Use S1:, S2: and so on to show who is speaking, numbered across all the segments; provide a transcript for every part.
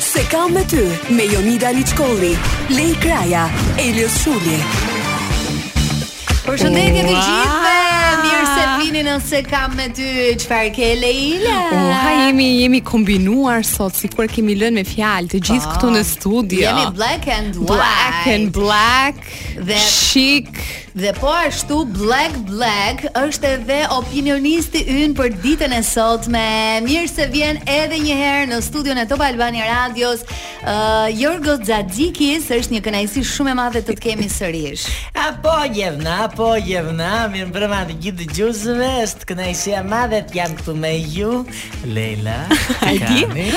S1: Se kam me ty me Jonida Liçkolli, Lej Kraja, Elios Shulli.
S2: Përshëndetje të
S3: Ua!
S2: gjithëve. Mirë se vini nëse kam me ty çfarë ke Leila.
S3: Oh, ha jemi jemi kombinuar sot sikur kemi lënë me fjalë të gjithë këtu në studio.
S2: Jemi black and white.
S3: black and black
S2: Dhe-
S3: chic.
S2: Dhe po ashtu Black Black është edhe opinionisti ynë për ditën e sotme. Mirë se vjen edhe një herë në studion e Top Albania Radios. Uh, Jorgo Xhaxhikis është një kënaqësi shumë e madhe të të kemi sërish.
S4: Apo jevna, apo jevna, mirë mbrëma të gjithë dëgjuesve, është kënaqësia e madhe të jam këtu me ju, Leila.
S3: A di?
S4: Kani.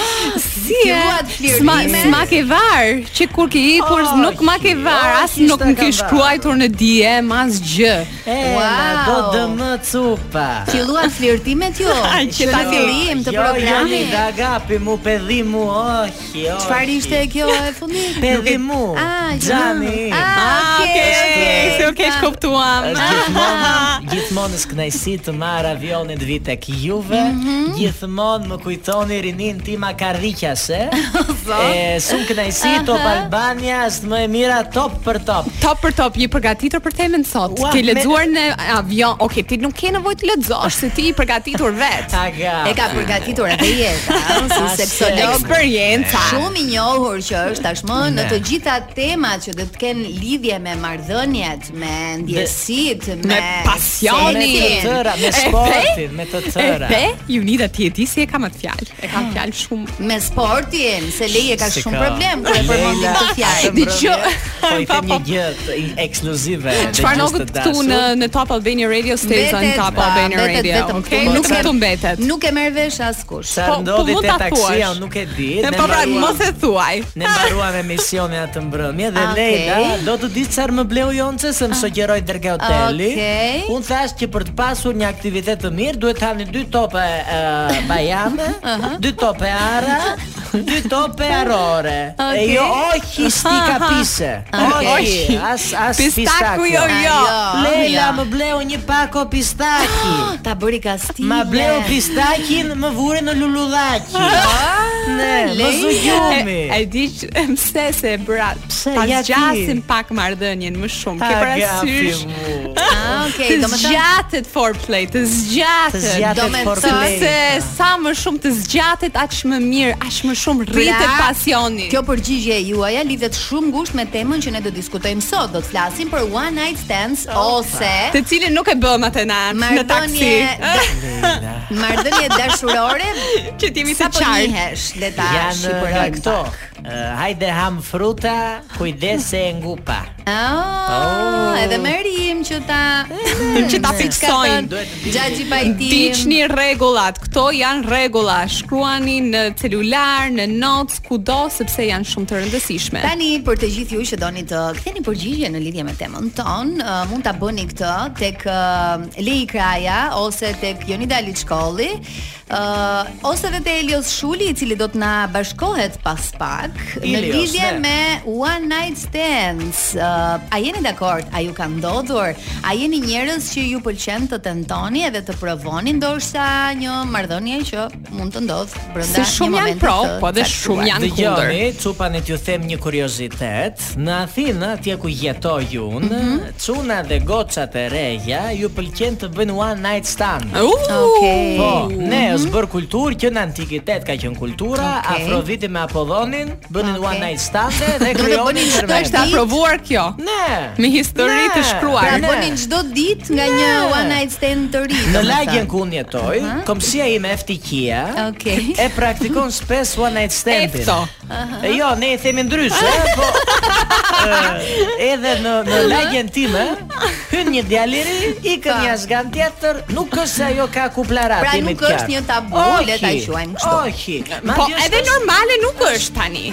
S3: Si
S2: Ke
S3: e?
S2: vuat flirtime?
S3: Sma, sma ke var, që kur ke ikur
S4: Oh,
S3: nuk ma ke var,
S4: oh,
S3: as
S4: kishta
S3: nuk më
S4: ka
S3: ke
S4: varë.
S3: shkruajtur në DM, as gjë.
S4: E,
S2: Wow.
S4: na do dëmë cupa.
S2: Filluan flirtimet ju.
S3: Ai, që
S2: Që në
S3: tani-
S2: fillim të
S4: Jo, jo,
S2: programit.
S4: da gapi mu, pedhi mu, oh, jo.
S2: Çfarë ishte kjo e fundit?
S4: Pedhi mu,
S2: Ah,
S3: jo.
S2: që-
S4: Gjani.
S2: Ah, okay, okay,
S3: se u keq
S2: ah.
S3: kuptuam.
S4: Është gjithmonë gjithmonë është kënaqësi të marr avionin të vi tek juve.
S3: Mhm.
S4: Gjithmonë më kujtoni rinin tim akarriqase.
S3: Po.
S4: e sum kënaqësi Top Albania është më e mira top për top.
S3: Top për top, je përgatitur për temën sot.
S4: Ua,
S3: Ke
S4: me-
S3: lexuar në avion. Okej, ti nuk ke nevojë të lexosh, se ti i përgatitur vetë.
S4: Aga.
S2: E ka përgatitur edhe jeta, ëh, si
S4: Ashe.
S2: seksolog.
S3: Eksperjenca.
S2: Shumë i njohur që është tashmë në
S4: Ne.
S2: të gjitha temat që do të kenë lidhje me marrëdhëniet, me ndjesitë, me,
S3: me pasionin.
S4: me të
S2: seksin.
S4: tëra, me
S3: E pe?
S4: sportin, me të
S3: E
S4: tëra.
S3: pe, ju nida ti e di si e kam atë fjalë. E kam fjalë shumë.
S2: me sportin, se leje ka
S4: Si
S2: shumë problem kur e
S4: Leila,
S2: përmendim këtë
S4: atë
S2: fjalë.
S3: Di që-
S4: mbrëmje, Po i
S3: Pa,
S4: them një
S3: po.
S4: gjë të- ekskluzive. dhe
S3: Çfarë
S4: gjithë
S3: nokët
S4: të
S3: këtu
S4: dashur.
S3: në në Top Albania Radio Steza në
S2: Mbetet,
S3: Top
S2: pa,
S3: Albania
S2: mbetet
S3: Radio.
S2: vetëm
S3: Okej,
S2: këtu,
S3: nuk
S2: mos
S3: më
S2: e-
S3: të mbetet.
S2: Nuk e merr vesh askush.
S4: Sa
S3: Po, po
S4: ndodhi
S3: mund
S4: te
S3: ta
S4: taksia,
S3: thuash.
S4: unë nuk e di.
S3: E
S4: ne
S3: po pra,
S4: mbaruam-
S3: mos e thuaj.
S4: Ne mbaruam emisionin atë mbrëmje dhe
S2: Okej. Ah.
S4: Leila do të di çfarë më bleu Jonce se më sugjeroi dërgoj hoteli.
S2: Okej.
S4: Unë thash që për të pasur një aktivitet të mirë duhet të hani dy tope e, bajame, dy tope ara, dy tope arore. E
S2: Okej.
S4: jo ohi stika pise.
S2: Okej.
S4: Ohi, as as
S3: Pistaku jo
S2: Ah,
S3: jo.
S2: jo.
S4: Leila më bleu një pako pistaki.
S2: ta bëri kastile.
S4: Ma bleu pistakin, më vure në luludhaki. Ne, më
S2: Ah, Leila.
S4: zugjomi.
S3: jo. E, e di që- e, pse se e bëra.
S4: Pse,
S3: Pas
S4: ja ti.
S3: gjasim pak marrëdhënien më shumë. Ke parasysh
S2: Ah, okay,
S3: të
S2: domethënë
S3: zgjatet foreplay, të zgjatet.
S4: Të zgjatet
S2: Do me thënë
S4: foreplay.
S3: Se sa më shumë të zgjatet, aq më mirë, aq më shumë rritet
S2: Pra,
S3: pasioni.
S2: Kjo përgjigje juaja lidhet shumë ngushtë me temën që ne do diskutojmë sot. Do të flasim për one night stands ose
S3: të cilin nuk e bëm atë na në taksi.
S2: marrëdhënie marrëdhënie dashurore
S3: që t'jemi të
S2: sa po
S3: qartë.
S2: njihesh le ta
S4: Janë nga
S2: shqipërojmë
S4: këto. Eh, Hajde ham fruta, kujdes se e ngupa.
S3: Oh.
S2: Ah, edhe me rim që ta
S3: Që
S2: Si ka
S3: ta fiksojnë.
S2: thënë
S4: Duhet të
S2: Gjaxhi Pajtim.
S3: Diçni rregullat. Këto janë rregulla. Shkruani në celular, në notes, kudo sepse janë shumë të rëndësishme.
S2: Tani për të gjithë ju që doni të ktheni përgjigje në lidhje me temën ton, uh, mund ta bëni këtë tek uh, Lei Kraja ose tek Jonida Liçkolli, uh, ose edhe te Elios Shuli i cili do të na bashkohet pas pak në
S4: Elios,
S2: lidhje
S4: ne.
S2: me one night stands. Uh, a jeni dakord? A ju ka ndodhur? A jeni njerëz që ju pëlqen të tentoni edhe të provoni ndoshta një marrëdhënie që mund të ndodh brenda
S3: Se
S2: një
S3: shumë janë
S2: momenti
S3: pro,
S2: të
S3: po dhe
S2: caktuar?
S3: shumë janë kundër.
S4: Dëgjoni, cupa ne t'ju them një kuriozitet. Në Athinë, atje ku jetoj unë, çuna dhe gocat e reja ju pëlqen të bëjnë one night stand.
S3: U,
S2: Okej.
S4: Po, ne është bërë kulturë që në antikitet ka qenë kultura,
S2: Okej.
S4: Afroditi me Apollonin bënin
S2: Okej.
S4: one night ε, stande dhe
S2: Do të
S4: krijonin
S2: bënin çdo
S4: intermend.
S3: Është aprovuar kjo.
S4: Ne.
S3: Me histori
S4: Ne.
S3: të shkruar.
S2: Pra
S4: Ne.
S2: bënin çdo ditë nga një
S4: Ne.
S2: one night stand të ri.
S4: Në
S2: domethënë.
S4: lagjen ku unë jetoj, komshia ime Eftikia
S2: Okej.
S4: e praktikon spes one night standin.
S3: Efto.
S4: E Jo, ne i themi ndryshe, po e, edhe në në lagjen time hyn një djalë i ri, ikën
S2: Pa.
S4: një zgan tjetër, nuk është se ajo ka kuplarat
S2: Pra,
S4: jemi
S2: nuk
S4: të
S2: është
S4: qartë.
S2: një tabu, le ta
S4: Ohi,
S2: quajmë kështu.
S4: Ohi.
S3: Po
S4: Madje
S3: edhe
S4: është-
S3: normale nuk është tani.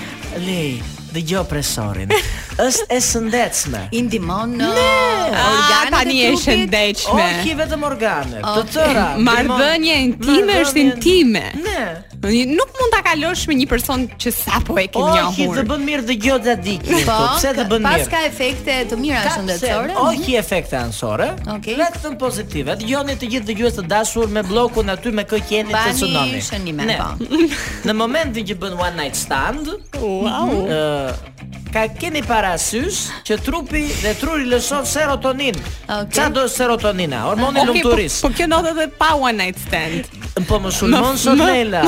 S4: Lej, dëgjoj presorin. Është e shëndetshme.
S2: I ndihmon në
S3: Ah,
S2: organet
S3: tani
S2: e
S3: e
S2: trupit.
S3: shëndetshme.
S4: Oki vetëm organe, të
S2: Ok.
S4: tëra.
S3: Marrëdhënia
S4: limon-
S3: intime është
S4: marrëdhënien-
S3: intime.
S4: Ne.
S3: Nuk mund ta kalosh me një person që sapo e ke
S4: Oki
S3: njohur.
S4: të bën mirë dëgjoj dhe diki.
S2: Po,
S4: pse të bën
S2: pas
S4: mirë?
S2: ka efekte të mira
S4: Ka
S2: shëndetësore.
S4: pse, Oki efekte anësore.
S2: Okej.
S4: Vetëm pozitive. Dëgjoni të gjithë dëgjues të dashur me bllokun aty me kë qeni të
S2: Bani
S4: sunoni.
S2: shënime,
S4: Ne.
S2: po.
S4: Në momentin që bën one night stand, ε,
S3: Wow.
S4: ë ka keni parasysh që trupi dhe truri lëshon serotonin.
S2: Okej.
S4: Çfarë do serotonina? Hormoni
S3: Okej, po,
S4: lumturisë.
S3: po kjo ndodhet edhe pa one night stand.
S4: Po më sulmon
S3: Më-
S4: sot
S3: më-
S4: Lela.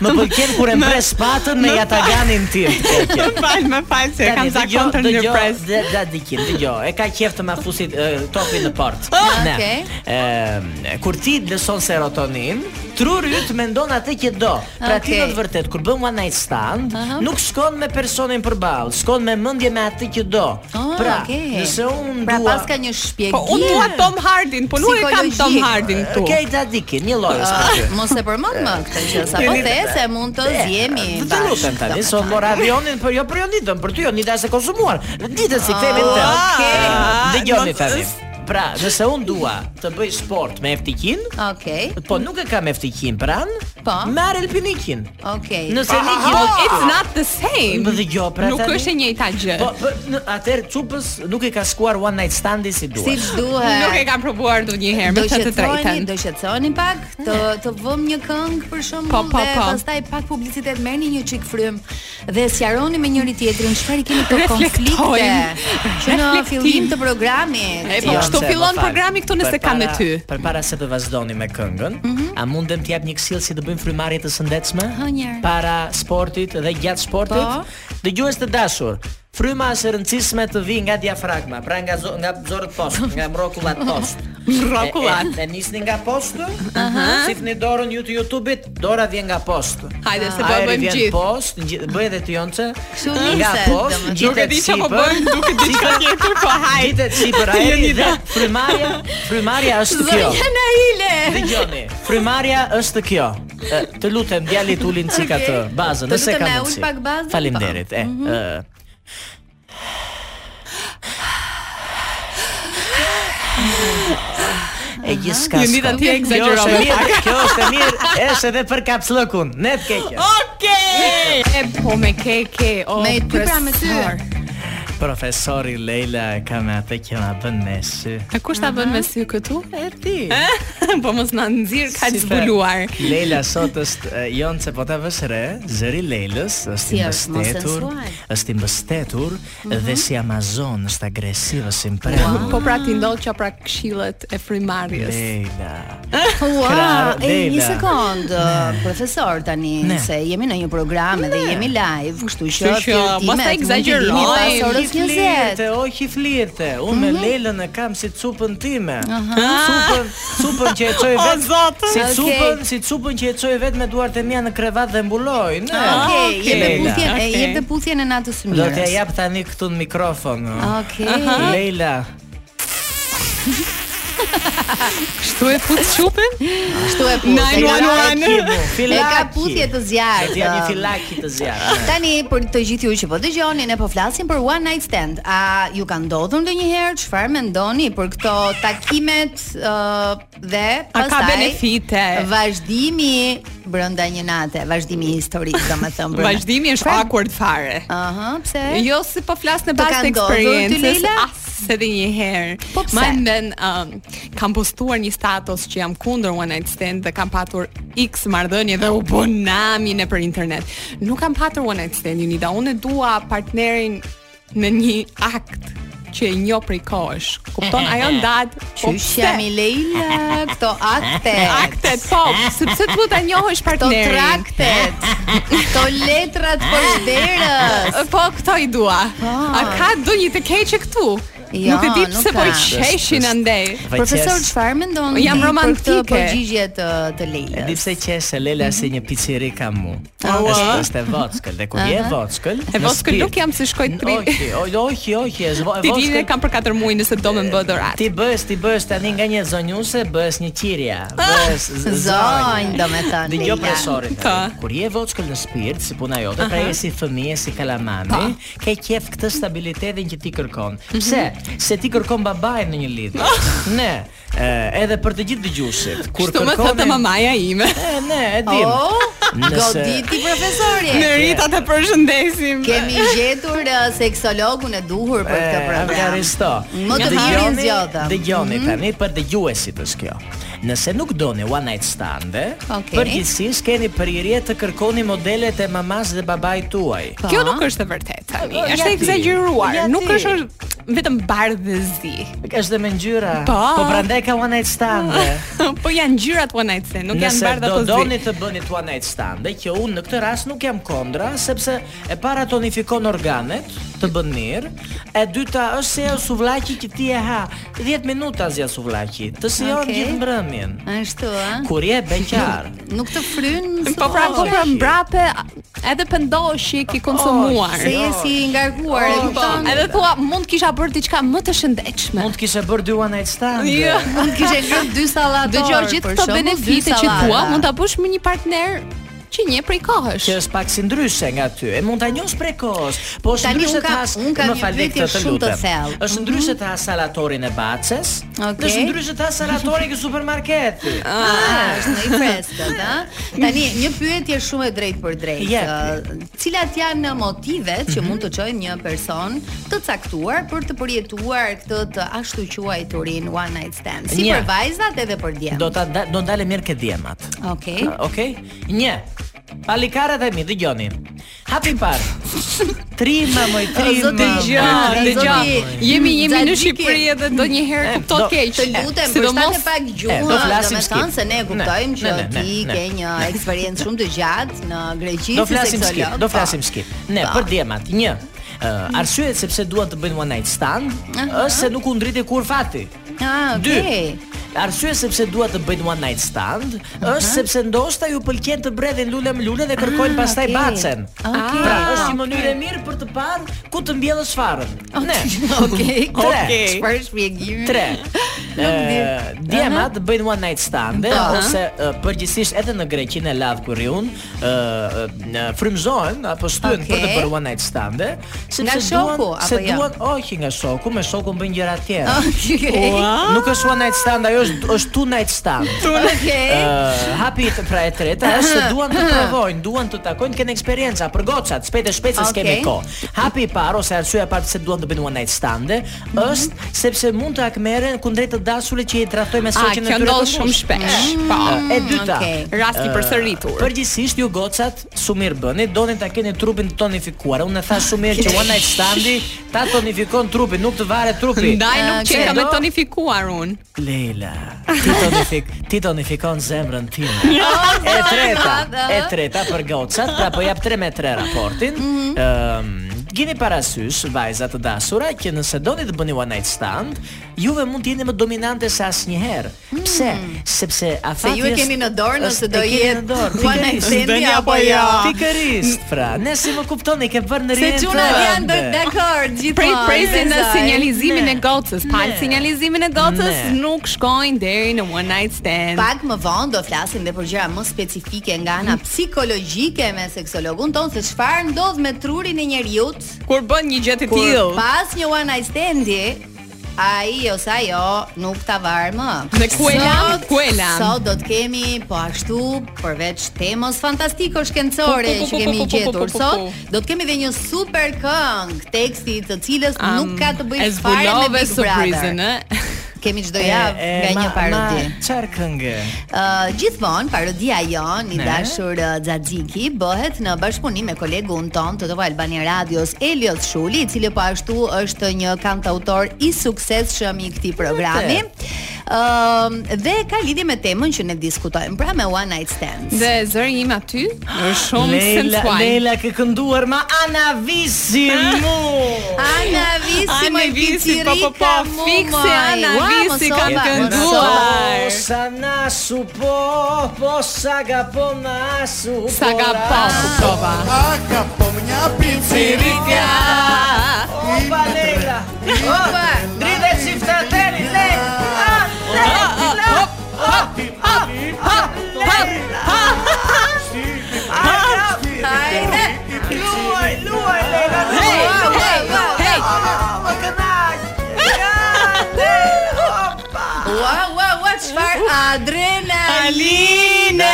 S4: Më pëlqen kur e
S3: më-
S4: mbres patën me
S3: më-
S4: jataganin tim.
S3: Më fal, më fal se kam zakon të ndërpres.
S4: jo, Dhe da dikim, dëgjoj. E ka qejf të ma fusi e, topin në port. Ne.
S2: okej.
S4: Ëm, kur ti lëson serotonin, truri yt mendon atë që do. Pra ti
S2: Okej.
S4: në të vërtet kur bën one night stand,
S2: Aha.
S4: nuk shkon me personin përballë, shkon me mendje me atë që do.
S2: Ah,
S4: Pra,
S2: okej.
S4: nëse unë
S2: pra
S4: dua
S2: pas ka një shpjegim.
S3: Po unë dua Tom Hardin, po nuk e kam Tom
S2: Psikologjik.
S3: Hardin këtu.
S4: Okej, da dikim, një lloj është për ty.
S2: Ah, Mos e përmend më këtë gjë, sapo
S4: Jeni-
S2: the se mund të zjemi.
S4: Eh, Të lutem tani, son mor avionin, por jo për jonitën, për ty jonita është e konsumuar. Ditën si kthehemi te.
S3: Okej.
S4: Dëgjoni
S3: Mos-
S4: tani. Pra, nëse unë dua të bëj sport me eftikin,
S2: Okej.
S4: po nuk e kam eftikin pran,
S2: Po.
S4: merr alpinikin.
S2: Okej.
S4: Nëse
S3: Aha,
S4: nikin
S3: Po, it's not the same.
S4: Më dëgjo, pra,
S3: Nuk
S4: tani-
S3: është e njëjta gjë.
S4: Po, po në- atëherë çupës nuk e ka skuar one night standi si duhet.
S2: Siç duhet.
S3: Nuk e kam provuar ndonjëherë
S2: Do
S3: me të të
S2: qetësoni,
S3: drejtën.
S2: do qetësoni pak, të të vëm një këngë për shembull
S3: Po, po,
S2: dhe
S3: po.
S2: pastaj pak publicitet, merrni një çik frym dhe sqaroni me njëri tjetrin çfarë i keni këto
S3: Reflektojmë.
S2: konflikte. Që në
S3: Reflektim.
S2: fillim të programit.
S3: E, po,
S4: Jo,
S3: kështu
S4: se, më
S3: fillon
S4: fal.
S3: programi këtu nëse
S4: Për
S3: kam me
S4: para-
S3: ty. Mhm.
S4: Për para se të vazhdoni me këngën, a mundem t'jap një këshill si të bëjmë frymarrje të shëndetshme?
S2: Ha, njerë.
S4: Para sportit dhe gjatë sportit?
S2: Po.
S4: Dëgjues të dashur, fryma është e rëndësishme të vi nga diafragma, pra nga zo, nga zorët poshtë, nga mrokullat poshtë.
S3: Mrokullat.
S4: E, e, e nisni nga poshtë, sifni dorën ju të YouTube-it, dora vjen nga poshtë.
S3: Hajde se po e
S4: Aeri
S3: bëjmë
S4: vjen
S3: gjithë.
S4: poshtë, ngji- bëj edhe ti jonce.
S2: Kështu
S4: Nga
S2: niset,
S4: poshtë,
S2: domethënë.
S3: Nuk e di çfarë po
S4: sipër.
S3: bëjmë, nuk e di çka tjetër po hajde.
S4: Ditët sipër ajeri dhe frymarrja, frymarrja është kjo.
S2: Zonja Naile.
S4: Dëgjoni, frymarrja është kjo. E, Të lutem djalit ulin cika të
S2: Okej.
S4: bazën,
S2: Të
S4: nëse
S2: lutem,
S4: ka
S2: na ul
S4: mundësi.
S2: pak
S3: po.
S2: bazën,
S4: Faleminderit. E,
S3: Mhm.
S4: ë, E gjithë s'ka
S3: Ju nita
S4: s'ka.
S3: ti e
S4: Kjo është
S3: egzagerove
S4: e mirë, kjo është e mirë, është edhe për kapslëkun, ne të keqe.
S3: Okej. E, Po me keke, o.
S2: Me ty pra me ty.
S3: profesor.
S4: Profesori Leila ka me atë që ma bën me sy.
S3: E kush ta bën me sy këtu?
S4: E ti.
S3: Po mos na nxirr ka
S4: Si
S3: zbuluar.
S4: fe, Leila sot është e, jonë se po ta vësh re, zëri Leilës është
S2: Si
S4: i
S2: është, mos
S4: mbështetur,
S2: sensual.
S4: është i mbështetur dhe si Amazon është agresive si mprem.
S3: Po pra ti ndodh që pra këshillet e frymarrjes.
S4: Leila.
S2: Ua,
S4: Krar,
S2: e një
S4: Leila.
S2: sekond, profesor tani,
S4: Ne.
S2: se jemi në një program edhe jemi live, kështu që
S3: Kështu që,
S2: pyetimet
S3: mos ta
S2: mund të vini
S3: egzagjerojmë.
S2: pas orës
S4: Ki
S2: 20.
S4: flirte, o ki flirte. Unë me Leilën e kam si cupën time. Cupën, cupën që e çoj
S3: O,
S4: vet.
S3: Zot.
S4: Si
S2: Okej.
S4: cupën, si cupën që e çoj vet me duart e mia në krevat dhe mbuloj. Ne.
S2: Okej, jep dhe
S4: Leila.
S2: puthjen, e
S3: Okej.
S2: jep dhe puthjen e natës së
S4: Do t'ja
S2: mirës.
S4: jap tani këtu në mikrofon.
S2: Okej.
S4: Leila,
S3: Kështu e fut çupin?
S2: Kështu e puth. e ka-
S3: 911.
S2: E ka puthje të
S4: Do t'ja një
S2: zjarrt.
S4: filaki të zjarë
S2: Tani për të gjithë ju që po dëgjoni, ne po flasim për one night stand. A ju ka ndodhur ndonjëherë çfarë mendoni për këto takimet ë, dhe
S3: A ka
S2: pastaj
S3: benefite?
S2: Vazhdimi brenda një nate, vazhdimi historik, domethënë brenda.
S3: Vazhdimi është awkward fare.
S2: Aha, pse?
S3: Jo si po flas në
S2: Të
S3: bazë
S2: ka
S3: të
S2: ndodhur ty,
S3: eksperiencës.
S2: Leila?
S3: As edhe një herë.
S2: Po pse?
S3: Ma nden um, kam postuar një status që jam kundër one night stand dhe kam patur X marrëdhënie dhe u bën nami në për internet. Nuk kam patur one night stand, Unida. Unë e dua partnerin në një akt që e njoh prej kohësh. Kupton?
S2: Eh,
S3: Ajo ndahet. Po
S2: Qysh
S3: pse?
S2: jam i Leila, këto akte,
S3: Aktet, po, sepse të duhet ta njohësh
S2: këto
S3: partnerin.
S2: traktet, këto letrat për shderës.
S3: Po, këto i dua. A ka ndonjë të keqe këtu?
S2: Jo,
S3: nuk e di
S2: Po. nuk
S3: pse po i
S2: ka.
S3: qeshin andej.
S4: Vaj
S2: Profesor
S4: qes.
S2: çfarë mendon?
S3: Jam
S2: ti për këtë
S3: romantike.
S2: Përgjigje të të
S4: E
S2: Leilës.
S4: di pse qeshe Lela si një pizzeri ka mu.
S3: Au,
S4: Është
S3: a?
S4: është e vockël, dhe kur je vockël,
S3: E
S4: në
S3: vockël
S4: spirt.
S3: nuk jam si shkoj tri.
S4: Oqi, oqi, oqi, oqi, e zvo- e
S3: Ti vjen e
S4: vockël-
S3: kam për 4 muaj nëse do më bë dorat.
S4: Ti bësh, ti bësh tani nga një zonjuse, bësh një qirja, bësh z-
S2: Zonjë, do me thënë,
S4: Dhe jo
S2: Leila.
S4: presorin.
S3: Po.
S4: tani. Kur je voçkël në spirt, si puna jote, pra je si fëmijë, si kalamami, ke qef këtë stabilitetin që ti kërkon. Pse? Se ti kërkon babain në një lidhje. Ne, e, edhe për të gjithë dëgjuesit, kur
S3: Kështu më thotë mamaja ime.
S4: E, ne, e dim.
S2: Oh,
S4: Nëse-
S2: goditi profesori.
S3: Me rita të përshëndesim.
S2: Kemi gjetur uh, seksologun e duhur për këtë program.
S4: Aristo.
S2: Më të harin zgjodha.
S4: Dëgjoni
S2: Mhm.
S4: tani për dëgjuesit është kjo. Nëse nuk doni one night stand,
S2: Okej.
S4: përgjithsisht keni përrirje të kërkoni modelet e mamas dhe babait tuaj.
S2: po.
S3: Kjo nuk është e vërtetë tani.
S4: Ja
S3: Është e
S4: ti.
S3: egzageruar.
S4: Ja
S3: Nuk
S4: ti.
S3: është vetëm bardhë dhe zi.
S4: Është dhe me ngjyra.
S3: Po.
S4: Po prandaj ka one night stand.
S3: po janë gjyrat one night stand, nuk janë
S4: Nëse
S3: bardhë
S4: do
S3: apo zi.
S4: doni të bëni one night stand, që unë në këtë rast nuk jam kondra, sepse e para tonifikon organet, të bën mirë, e dyta është se ajo suvllaqi që ti e ha 10 minuta zja suvllaqi, të sijon
S2: Okej.
S4: gjithë mbrëmjen.
S2: Ashtu, a?
S4: Kur je beqar.
S2: Nuk të fryn.
S3: Po pra, po pra
S4: Oshi.
S3: mbrape edhe pëndoshi ki konsumuar.
S2: se je Oh,
S4: jo.
S2: si i ngarkuar, e
S3: Po, po,
S2: kupton?
S3: edhe thua mund kisha bërë diçka më të shëndetshme.
S4: Mund të kishe bërë dy one night stand.
S3: Jo.
S2: Mund kishe lënë dy sallator.
S3: Dëgjoj gjithë
S2: për
S3: këto
S2: shembull, dy
S3: benefite që
S2: sallata.
S3: thua, mund ta bësh me një partner që një prej kohësh.
S4: Që është pak si ndryshe nga ty. E mund ta njohësh prej kohës, po është
S2: Tani
S4: ndryshe
S2: unë ka-
S4: has-
S2: unë kam
S4: më
S2: një
S4: fal,
S2: pyetje
S4: këtë
S2: shumë të
S4: lutem.
S2: thellë. Mhm.
S4: Është ndryshe të has salatorin e baces,
S2: Okej.
S4: dhe është ndryshe të has salatorin ke supermarketi.
S2: Ah, është në i freskët, a? Tani, një pyetje shumë e drejtë për drejtë.
S4: Jep.
S2: Ë, Cilat janë motivet që mund të çojnë një person të caktuar për të përjetuar këtë të ashtu quajturin one night stand, si
S4: Një.
S2: për vajzat edhe për djemt?
S4: Do Ah. ta da- do ndale mirë ke djemat.
S2: Okej.
S4: Okej? Një. Palikarat e mi, dëgjoni. Hapi parë. Trima moj, trima.
S2: zoti,
S4: moj,
S3: Dëgjoj,
S2: Zoti,
S4: trima,
S3: dëgjoj.
S4: moj.
S3: Jemi jemi në
S2: Xhaxhiki.
S3: Shqipëri edhe
S4: E,
S3: ndonjëherë kuptot
S4: do-
S3: keq.
S2: Të
S4: Eh,
S2: lutem, përshtat
S3: Sidomos
S2: e pak
S4: e, do
S2: gjuhën,
S4: flasim
S2: domethënë
S4: skip.
S2: se ne e kuptojmë
S4: Ne,
S2: që
S4: ne, ne,
S2: ti
S4: ne,
S2: ke
S4: ne.
S2: një eksperiencë shumë të gjatë në greqi
S4: Do
S2: si
S4: flasim skip,
S2: seksolog.
S4: do
S2: Po.
S4: flasim skip. Ne
S2: Po.
S4: për djemat, një.
S2: Mhm.
S4: Uh, arsyet sepse duan të bëjnë one night stand është se nuk u ngriti kur fati.
S2: Ah,
S4: Dy.
S2: okay.
S4: Arsye sepse dua të bëjnë one night stand është sepse ndoshta ju pëlqen të bredhin lule me lule dhe kërkojnë
S2: Ah,
S4: pastaj
S2: okay.
S4: bacen.
S2: Okay.
S4: Pra, është një mënyrë e mirë për të parë ku të mbjellësh farën. Ne.
S2: Okej.
S4: Tre.
S2: Çfarë shpjegimi?
S4: Tre. Eh, Ë, Djemat bëjnë one night stand
S2: Aha.
S4: ose ë, përgjithsisht edhe në Greqinë e lavë ku riun, ë frymëzohen apo shtyhen për të
S2: Okej.
S4: bërë one night stand, sepse
S2: Nga
S4: duan-
S2: shoku, apo
S4: se
S2: jo?
S4: duan, oqi nga shoku, me shokun bëjnë gjëra të tjera.
S2: Okej.
S4: Nuk është one night stand, ajo është është two night stand.
S2: Okej.
S4: Ë, hapi të pra e treta është se duan të provojnë, duan të takojnë, kanë eksperjenca për gocat, shpejt e shpejt se s'kemi
S2: Okej.
S4: kohë. Hapi i parë ose arsyeja e parë pse duan të bëjnë one night stand është sepse mund të akmeren kundrejt të dashurit që i tradhtojnë me
S3: A,
S4: shoqen e
S3: kjo
S4: tyre. të
S3: ndodh shumë
S4: mbushur.
S3: shpesh. Po.
S4: Ë, E dyta,
S2: okej.
S3: Rasti
S4: ë,
S3: përsëritur.
S4: Përgjithsisht ju gocat shumë mirë bëni, doni ta keni trupin tonifikuar. Unë e thash shumë mirë që one night standi ta tonifikon trupin, nuk të varet trupi.
S3: Ndaj nuk
S2: Okej.
S3: që kam e
S4: Do-
S3: tonifikuar unë.
S4: Leila, ti tonifik, ti tonifikon zemrën time.
S2: Jo,
S4: e treta, e treta për gocat, pra po jap 3 me 3 raportin. Ehm, Ëm,
S2: Mhm.
S4: gjeni parasysh vajza të dashura që nëse doni të bëni one night stand, juve mund të jeni më dominante se asnjëherë. Pse? Sepse
S2: Mm. Se
S4: afati
S2: ju e keni në dorë nëse do jetë
S4: one
S2: one night stand apo jo.
S4: Pikërisht, pra, ne si më kuptoni ke vënë në
S2: Se
S4: rrjetin
S2: çunat janë dë-
S4: tënde.
S2: dakord gjithmonë.
S3: Prej presin në
S2: besoj.
S3: sinjalizimin
S4: Ne.
S3: e gocës, pal
S4: Ne.
S3: sinjalizimin e gocës
S4: Ne.
S3: nuk shkojnë deri në one night stand.
S2: Pak më vonë do flasim dhe për gjëra më specifike nga ana
S3: Mhm.
S2: psikologjike me seksologun ton se çfarë ndodh me trurin e njeriu
S3: Kur bën një gjë të
S2: kur
S3: tillë,
S2: pas një one night standi ai ose ajo nuk ta var më.
S3: Dhe ku e lam,
S2: Sot-
S3: ku e lam.
S2: Sot do të kemi po ashtu përveç temës fantastiko shkencore
S3: Pu, pu, pu,
S2: që kemi
S3: pu, pu, pu,
S2: gjetur
S3: pu, pu, pu.
S2: sot, do të kemi edhe një super këngë teksti i të cilës
S3: am,
S2: nuk ka të
S3: e
S2: bëjë fare me
S3: zbulove
S2: Big
S3: surprizën,
S2: Brother.
S3: ë?
S2: Kemi çdo javë nga një parodi.
S4: Çfarë këngë?
S2: Uh, gjithmonë parodia jon i
S4: Ne?
S2: dashur uh, Xaxiki bëhet në bashkëpunim me kolegun ton të Top Albania Radios Elios Shuli, i cili po ashtu është një kantautor i suksesshëm i këtij programi. Ëm dhe ka lidhje me temën që ne diskutojmë, pra me one night stands.
S3: Dhe zëri im aty është shumë
S4: Leila,
S3: sensual.
S4: Leila ke kënduar ma
S3: Ah,
S4: Anavisimu.
S2: Ana Visi,
S3: Ana
S2: moj
S3: Visi, po, po, po,
S2: pitirika mu,
S3: fikse
S2: moj.
S3: Ana
S2: Ua,
S3: Visi ka
S2: mosova,
S3: kënduar.
S2: mosova.
S3: Duar.
S4: Sana su po, po saga po na su
S3: Sa po. ka pa kuptova.
S5: Aka po mnja pincirika
S4: Opa Leila. Opa, drite çiftateri le. Ah, le, le,
S2: Hajde.
S4: Luaj, luaj Leila.
S3: Hey,
S4: luaj, luaj,
S3: hey,
S4: luaj.
S3: hey.
S4: Ah, o kënaq. Ja, le, opa.
S2: Ua, ua, ua, çfarë adrenaline.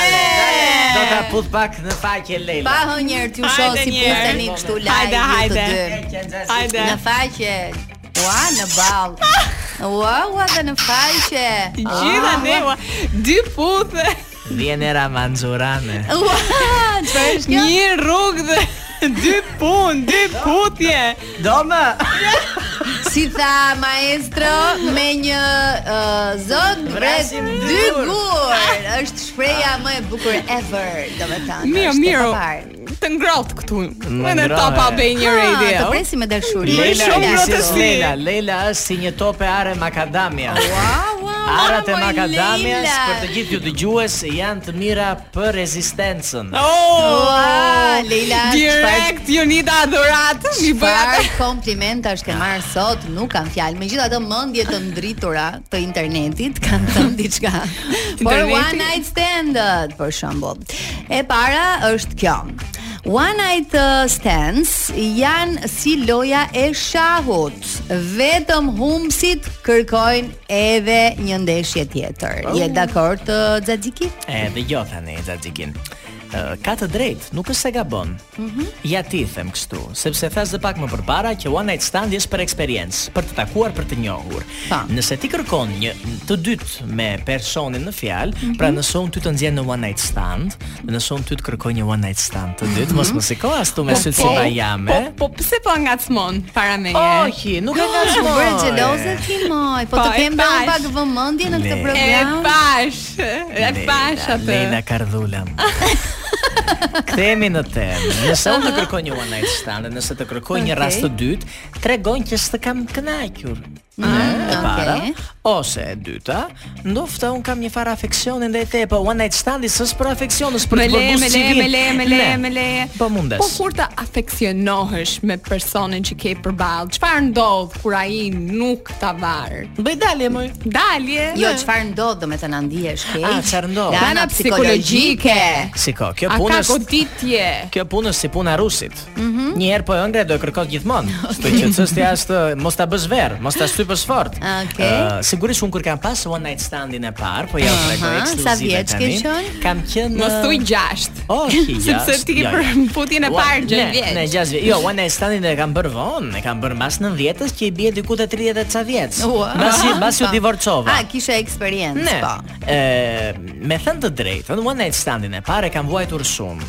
S4: Do ta put pak në faqe Leila.
S2: Pa hënjer t'ju shoh
S3: Hajde
S2: si
S3: njerë.
S2: puteni kështu live. ju
S3: Hajde,
S2: të
S3: hajde.
S2: dy.
S3: Hajde.
S2: Në faqe. Ua, në ball. Ua, ua dhe në faqe.
S3: Gjitha
S2: Ah.
S3: ne ua, dy puthe,
S4: Vjen era Manzurane.
S2: Ua, çfarë është kjo?
S3: një rrugë dhe dy pun, dy putje.
S4: Do më.
S2: Si tha maestro me një uh, zog rreth
S4: Vrasim
S2: dy
S4: dur.
S2: gur. Është shpreha më e bukur ever, domethënë. është
S3: Mirë,
S2: e paparë.
S3: mirë. Të ngrohtë këtu.
S4: Më
S3: Edhe
S4: ngrohe.
S3: top up e një
S2: Ah,
S3: radio.
S2: Të presim me dashuri.
S3: Leila, shumë
S4: është si
S3: protesti.
S4: Leila, Leila është si një tope are makadamia.
S2: Wow, wow.
S4: Arat e makadamias për të gjithë ju dëgjues janë të mira për rezistencën.
S3: Oh!
S2: Ua, Leila,
S3: Direkt Jonida dhurat i bëj atë.
S2: Par komplimentash ke marr sot, nuk kam fjalë. Megjithatë mendje të ndritura të internetit kanë thënë diçka. Por
S3: Interneti?
S2: one night stand për shembull. E para është kjo. One night uh, stands janë si loja e shahut. Vetëm humsit kërkojnë edhe një ndeshje tjetër.
S3: Oh.
S2: Je dakord uh, të Xhaxhiki?
S4: E, dëgjoj tani Xhaxhikin. Ë, Ka të drejtë, nuk është se gabon.
S3: Mhm.
S4: Ja ti them kështu, sepse thash dhe pak më përpara që one night stand është për eksperiencë, për të takuar, për të njohur.
S2: Pa.
S4: Nëse ti kërkon një të dytë me personin në fjalë,
S3: Mhm.
S4: pra nëse unë ty të nxjerr në one night stand, dhe nëse unë ty të kërkoj një one night stand të dytë, mos më siko as tu me sytë si bajame.
S3: Mhm. Po, po pse po ngacmon para
S2: Oh,
S3: meje?
S4: Ohi, nuk e ka
S2: Ju
S4: smoj.
S2: bëre xheloze ti moj, po
S3: Po,
S2: të
S3: e
S2: kem dhe unë
S3: pash.
S2: pak vëmendje në këtë
S4: Le.
S3: E
S2: program.
S3: pash, e pash atë.
S4: Lena Kardhulam. Kthehemi në temë. Nëse unë të kërkoj një one night stand, nëse të kërkoj një
S2: Okej.
S4: rast të dytë, tregon që s'të kam kënaqur.
S3: Mm,
S4: Ne, e para,
S2: okej.
S4: ose e dyta, ndofta un kam një farë afeksioni ndaj te, po one night standi s'është për afeksion, është për
S3: Me
S4: të
S3: le,
S4: bërë
S3: me
S4: buzë
S3: le,
S4: civil.
S3: me le, me le,
S4: Ne,
S3: me le.
S4: Po mundes.
S3: Po kur të afeksionohesh me personin që ke përballë, çfarë ndodh kur ai nuk ta var?
S4: Bëj dalje moj.
S3: Dalje.
S2: Jo, çfarë ndodh, do me të na ndihesh keq.
S4: A, çfarë ndodh?
S2: Nga ana
S3: Ana
S2: psikologjike.
S3: psikologjike.
S4: Shiko, kjo
S3: A
S4: punë
S3: ka
S4: është
S3: goditje?
S4: Kjo punë është si puna rusit. Një herë po e ëngre do e kërkon gjithmonë. Kështu që çështja është mos ta bësh verr, mos ta shtypësh fort.
S2: Okej.
S4: Ë, sigurisht unë kur kam pas one night standin e parë, po ja u tregoj
S2: Aha,
S4: ekskluzive
S2: sa vjeç ke
S4: tani,
S2: qenë?
S4: Kam qenë
S3: Mos
S4: ë,
S3: thuj gjasht.
S4: Oh,
S3: Sepse ti ke për putjen e parë gjën vjeç.
S4: Ne 6 vjeç. Jo, one night standin e kam bërë vonë, e kam bërë mbas 90-s që i bie diku te 30 e ca vjeç.
S2: Ua.
S4: Mbasi mbasi u
S2: Po.
S4: divorcova.
S2: A, kishe eksperiencë,
S4: Ne,
S2: po.
S4: e, me thënë të drejtën, one night standin e parë e kam vuajtur shumë.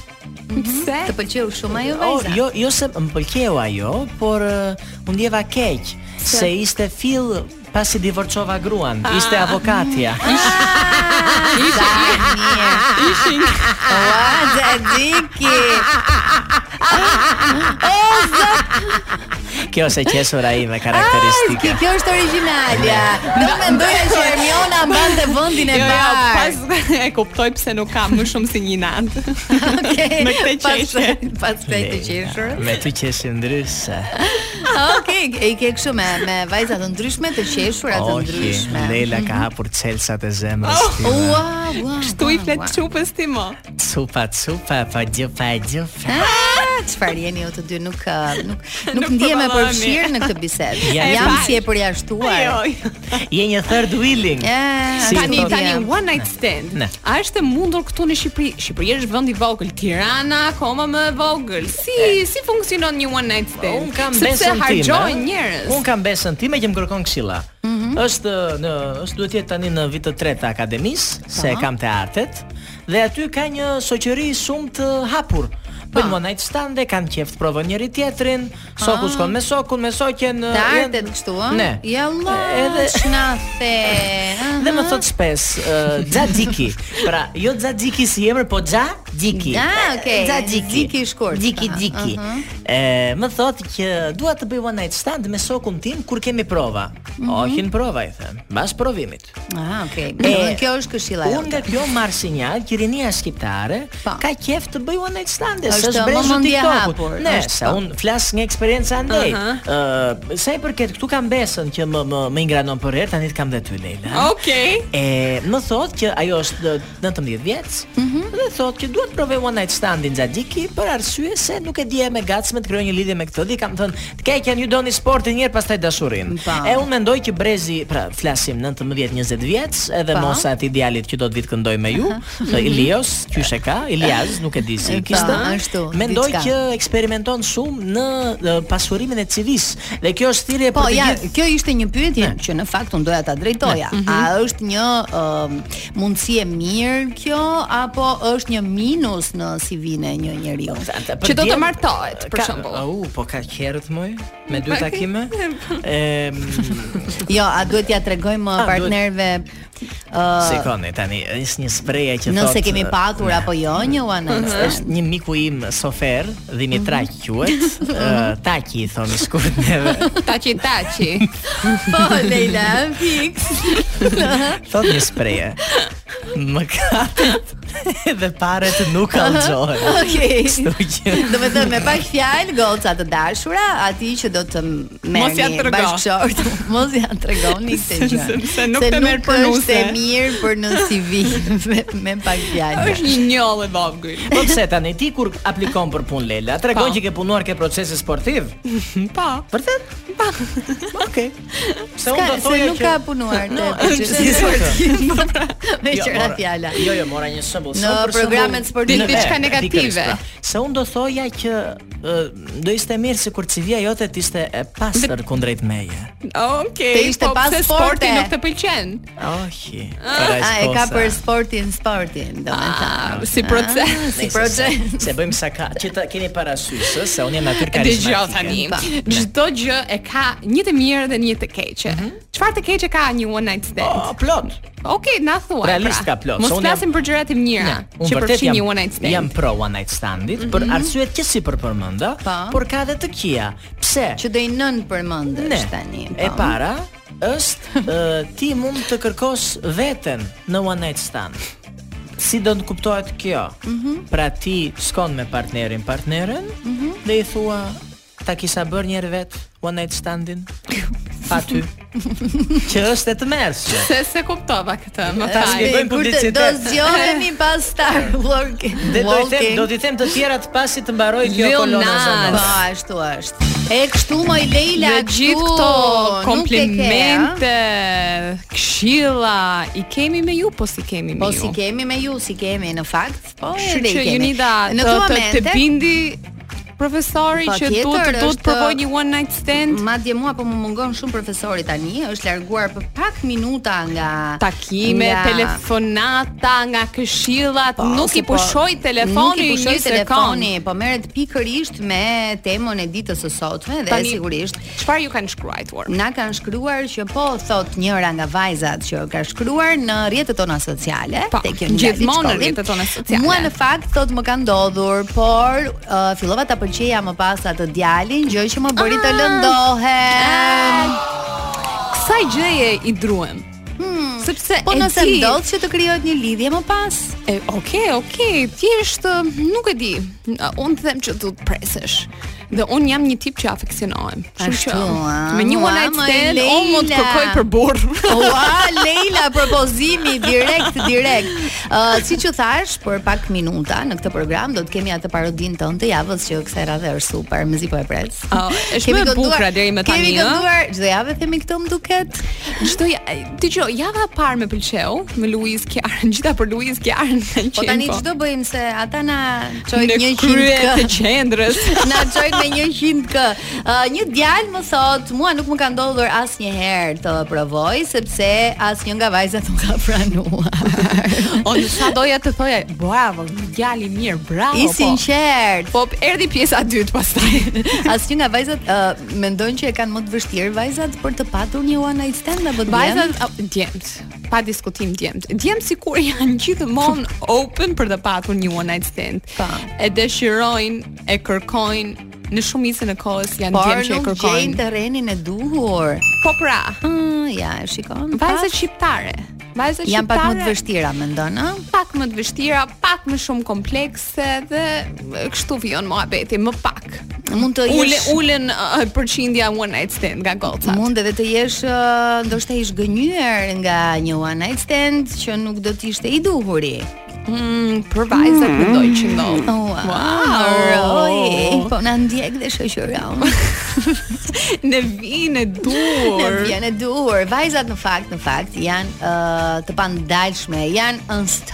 S3: Pse?
S2: Të pëlqeu shumë ajo
S4: O,
S2: vajza.
S4: jo, jo se më pëlqeu ajo, por uh, u ndjeva keq se ishte fill pasi divorcova gruan.
S2: Ah.
S4: Ishte avokatja.
S2: Sa Ah, mirë.
S3: Ishin
S2: Ua, Xhaxhiki.
S4: Kjo se qesura ime
S2: Ski,
S4: karakteristike.
S2: Ah, kjo është origjinalja. Nuk mendoja që Hermiona mbante vendin e
S3: Jo, jo, pas
S2: parë.
S3: e kuptoj pse nuk kam më shumë si një natë.
S2: Okej.
S3: me këtë
S2: pas-
S3: qeshje.
S2: Pas këtej të
S4: Leila,
S2: qeshur.
S4: Me ty qeshë ndryshe.
S2: Okej, e ke kështu me me vajza të ndryshme, të qeshura të
S4: Ohi,
S2: ndryshme. Mhm. Oh,
S4: Lela ka hapur çelsat e zemrës time.
S2: Ua, ua. Ah,
S3: Kështu i
S2: ua,
S3: flet
S2: ua.
S3: çupës ti mo.
S4: Cupa, cupa, pa gjupa, gjupa.
S2: Ah, Çfarë jeni ju të dy nuk uh, nuk nuk
S3: Nuk
S2: ndjehemi e
S3: përballohemi.
S2: përfshirë në këtë bisedë.
S4: Ja,
S2: Jam
S3: e
S2: si e përjashtuar.
S3: Jo.
S4: Je një third wheeling.
S2: Eh,
S4: Si po,
S3: Tani
S4: thotë-
S3: tani one night stand.
S4: Ne.
S3: A është e mundur këtu në Shqipëri? Shqipëria është vend i vogël, Tirana akoma më e vogël. Si si funksionon një one night stand?
S4: Po, Un kam
S3: Sepse
S4: besën time.
S3: harxhojnë njerëz. Mhm.
S4: Un kam besën time që më kërkon këshilla. Është në është duhet jetë tani në vitin e tretë të akademisë,
S3: Po.
S4: se e kam te artet dhe aty ka një shoqëri shumë të hapur.
S3: Po.
S4: Bën one night stand dhe kanë qejf të provojnë njëri tjetrin,
S3: Ah.
S4: soku shkon me eh, sokun, me soqen.
S2: Të ah?
S4: janë-
S2: artet kështu, ëh?
S4: Ne.
S2: Jalla,
S4: Edhe
S2: ç'na the.
S4: dhe më thot shpes, uh, Xadiki. Pra, jo Xadiki si emër, po Xadiki.
S2: Ah,
S4: Ε,
S2: okay.
S4: Xadiki.
S2: Xadiki i shkurt.
S4: Diki
S2: Aha,
S4: Diki. E, më thot që dua të bëj one night stand me sokun tim kur kemi prova. Ohin prova i them, mbas provimit.
S2: Ah, okay.
S4: E,
S2: Kjo është këshilla
S4: Unë
S2: jote.
S4: nga kjo marr sinjal që rinia shqiptare
S2: Po.
S4: ka qef të bëj one night stand,
S2: Është
S4: s'është brezhu
S2: momenti i hapur,
S4: TikTokut. Ne,
S2: është,
S4: sa
S2: po.
S4: unë flas nga eksperjenca andej. Ëh,
S3: Aha.
S4: sa i përket këtu kam besën që më më, më ingranon për herë, tani të kam dhe ty Leila.
S3: Okej.
S4: E më thot që ajo është në 19 vjeç
S2: Mhm.
S4: dhe thot që duhet provoj one night standin Xhaxhiki për arsye se nuk e dija me gatshme të krijoj një lidhje me këtë dhe i kam thënë, "Të keqen ju doni sportin një herë pastaj dashurinë."
S2: Pa.
S4: E unë mendoj që brezi, pra flasim 19-20 vjeç, edhe
S2: Pa.
S4: mosa e atij djalit që do të vit këndoj me ju, thë Ilios, qysh e ka, Ilias, nuk e di si
S2: Pa,
S4: e kishte.
S2: ashtu,
S4: Mendoj
S2: diçka.
S4: që eksperimenton shumë në e, pasurimin e civis dhe kjo është thirrje për
S2: Po
S4: të
S2: ja,
S4: gjithë. Mhm.
S2: kjo ishte një pyetje që në fakt unë doja ta drejtoja. A është një ëm, mundësi e mirë kjo apo është një minus në CV-n e një njeriu?
S4: po
S3: Që do të martohet, për
S4: Ka-
S3: shembull.
S4: Au, po ka qerët moj me dy takime. Ëm
S2: Jo, a duhet ja tregojmë
S4: duhet-
S2: partnerëve ë
S4: sikoni tani, është një spreja që thotë.
S2: nëse kemi patur apo jo një one night stand.
S4: një miku im sofer,
S2: Mhm.
S4: Dimitrak quhet, ë, e, Taki i thonë shkurt neve.
S3: Taçi taçi.
S2: Po Leila, fix.
S4: Thot një spreje. Më katët dhe paret nuk alxohen.
S2: Okej.
S4: Kështu që
S2: Do me thënë me pak fjalë goca të dashura, ati që do të
S3: Mos ja
S2: merrni
S3: trego.
S2: bashkëshort. Mos ja tregoni këtë gjë.
S3: Sepse nuk të merr për
S2: është
S3: nuse.
S2: e mirë për në CV me, me pak fjalë.
S3: Është një njollë e vogël.
S4: Po pse tani ti kur aplikon për punë Lela, tregon
S3: Po.
S4: që ke punuar ke procesi sportiv?
S3: Po.
S4: Vërtet? Pa. Okej. Se unë
S2: Ka,
S4: do
S2: se
S4: thoja
S2: nuk
S4: që-
S2: ka punuar
S4: No,
S2: no,
S4: është gjithë
S2: me
S4: Jo,
S2: qëra
S4: mora-
S2: fjala.
S4: Jo, jo, mora një shembull.
S2: Në programet sportive.
S4: Në-
S3: Diçka
S4: e,
S3: negative.
S4: pikërisht, pra. Se unë do thoja që ë, do ishte mirë sikur CV-ja jote të ishte e pastër kundrejt meje.
S3: Okej.
S2: Te ishte
S3: po
S2: pas
S3: pse
S2: sporte.
S3: sporti nuk të pëlqen.
S4: Ohi.
S2: A e ka për sportin sportin, do me thënë.
S3: Ah, si proces.
S2: si proces.
S4: Se bëjmë saka, që ta keni parasysh ë, se unë jam natyrë karizmatike.
S3: Dëgjoj tani.
S2: Pa.
S4: Po.
S3: Çdo gjë e ka një të mirë dhe një të keqe. Çfarë të keqe ka një one night stand?
S4: Po, Mhm. plot.
S3: Okej, na thuaj.
S4: Realisht ka
S3: pra.
S4: plot,
S3: Mos
S4: se unë jam-
S3: flasim për gjërat e mira
S4: unë
S3: që
S4: vërtet
S3: përfshin
S4: jam-
S3: një one night stand.
S4: Jam pro one night standit për arsyet që si për përmenda,
S2: Pa.
S4: por ka edhe të kia. Pse?
S2: Që do i nën përmendësh tani.
S4: E
S2: po.
S4: para është ë, ti mund të kërkosh veten në one night stand. Si do të kuptohet kjo?
S2: Mhm.
S4: Pra ti shkon me partnerin, partneren dhe i thua ta kisha bërë një herë vet one night standin pa ty. që është e tmerrshme.
S3: Se se kuptova këtë, më
S4: Ta
S3: fal.
S4: shpjegoj.
S2: Kur të-
S4: bëjmë
S2: Do
S4: publicitet.
S2: zgjohemi pas Star Walk.
S4: Dhe do i them,
S2: Walking.
S4: do t'i them të tjerat pasi të mbaroj kjo kolona
S3: Leonard.
S2: Po,
S4: zonore.
S2: ashtu është. E kështu moj Leila,
S3: Dhe gjithë
S2: këtu
S3: këto
S2: nuk e ke,
S3: komplimente, këshilla, i kemi me ju, po si kemi me
S2: Po
S3: ju.
S2: si kemi me ju, si kemi në fakt, po
S3: Kështu
S2: edhe i
S3: që
S2: kemi.
S3: Junida
S2: në
S3: të,
S2: këto
S3: të, të
S2: momente,
S3: bindi profesori
S2: Pa
S3: që
S2: tjetër,
S3: duhet duhet
S2: është-
S3: të provoj një one night stand
S2: Madje mua po më mungon shumë profesori tani, është larguar për pak minuta nga
S3: takime,
S2: nga-
S3: telefonata, nga këshillat,
S2: Po,
S3: nuk
S2: se
S3: i pushoj
S2: nuk
S3: telefoni
S2: i pushoj
S3: një sekond.
S2: telefoni, po merret pikërisht me temën e ditës së sotme dhe
S3: Tani-
S2: sigurisht
S3: Çfarë ju kanë shkruajtur?
S2: Na kanë shkruar që po thot njëra nga vajzat që ka shkruar në rrjetet tona sociale,
S3: Po,
S2: tek kjo një lajm i
S3: gjithmonë në
S2: shkollit.
S3: rrjetet tona sociale.
S2: Mua në fakt thot më ka ndodhur, por uh, fillova ta pëlqeja më pas atë djalin, gjë që më bëri
S3: Ah.
S2: të lëndohem.
S3: Kësaj gjëje i druem. Sepse
S2: Po
S3: e
S2: nëse
S3: di-
S2: ndodh që të krijohet një lidhje më pas,
S3: E, okay, okay, thjesht ë, nuk e di. Ë, Unë të them që du të presesh. Dhe unë jam një tip që afeksionohem. Kështu
S2: Ashtu, a,
S3: që, me një
S2: mua,
S3: one night
S2: më
S3: stand
S2: Leila.
S3: unë mund të kërkoj për burr.
S2: Ua, Leila, propozimi direkt, direkt. Uh, si që thash, për pak minuta në këtë program do të kemi atë parodin tonë të javës që kësaj radhe është super, mezi po e pres.
S3: Oh, është më e
S2: kënduar-
S3: bukra deri më tani,
S2: Kemi
S3: ë?
S2: kënduar çdo javë themi këtë më duket.
S3: Çdo ja, dëgjoj, java e parë më pëlqeu me Luiz Kjarën, gjitha për Luiz Kjarën. kanë
S2: Po
S3: qenë,
S2: tani çdo bëjmë se ata na çojnë
S3: në
S2: një
S3: krye të
S2: 100 kë.
S3: qendrës.
S2: Na çojnë me 100 kë. Uh, një djalë më thot, mua nuk më ka ndodhur asnjëherë të provoj sepse asnjë nga vajzat nuk ka pranuar.
S3: O, sa doja të thoja, bravo, një djalë i mirë, bravo.
S2: I
S3: po."
S2: sinqert.
S3: Po, erdhi pjesa e dytë pastaj.
S2: Asnjë nga vajzat uh, mendojnë që e kanë më të vështirë vajzat për të patur një one night stand apo të
S3: Vajzat a, djemt. pa diskutim djemt. Djemt sikur janë gjithmonë open për të patur një one night stand.
S2: Pa.
S3: E dëshirojnë, e kërkojnë në shumicën e kohës janë
S2: Por
S3: djemt që e
S2: nuk gjejnë
S3: kërkojnë.
S2: terrenin e duhur.
S3: Po pra,
S2: Ah, ja, e shikon.
S3: vajzat shqiptare. Vajzat
S2: janë pak më të
S3: shqiptare
S2: vështira mendon, ëh?
S3: pak më të vështira, pak më shumë komplekse dhe e, kështu vjen muhabeti, më pak.
S2: Mund të
S3: Ule,
S2: jesh
S3: ulen uh, përqindja one night stand nga gocat.
S2: mund edhe të jesh ë, ndoshta ish gënyer nga një one night stand që nuk do të ishte i duhuri.
S3: Mm, për vajzat mendoj që ndodh.
S2: Oh. Oj, po na ndjek dhe shoqëron.
S3: Ne
S2: Në
S3: vinë e dur.
S2: vjen e duhur. Vajzat në fakt, në fakt janë uh, të pandalshme, janë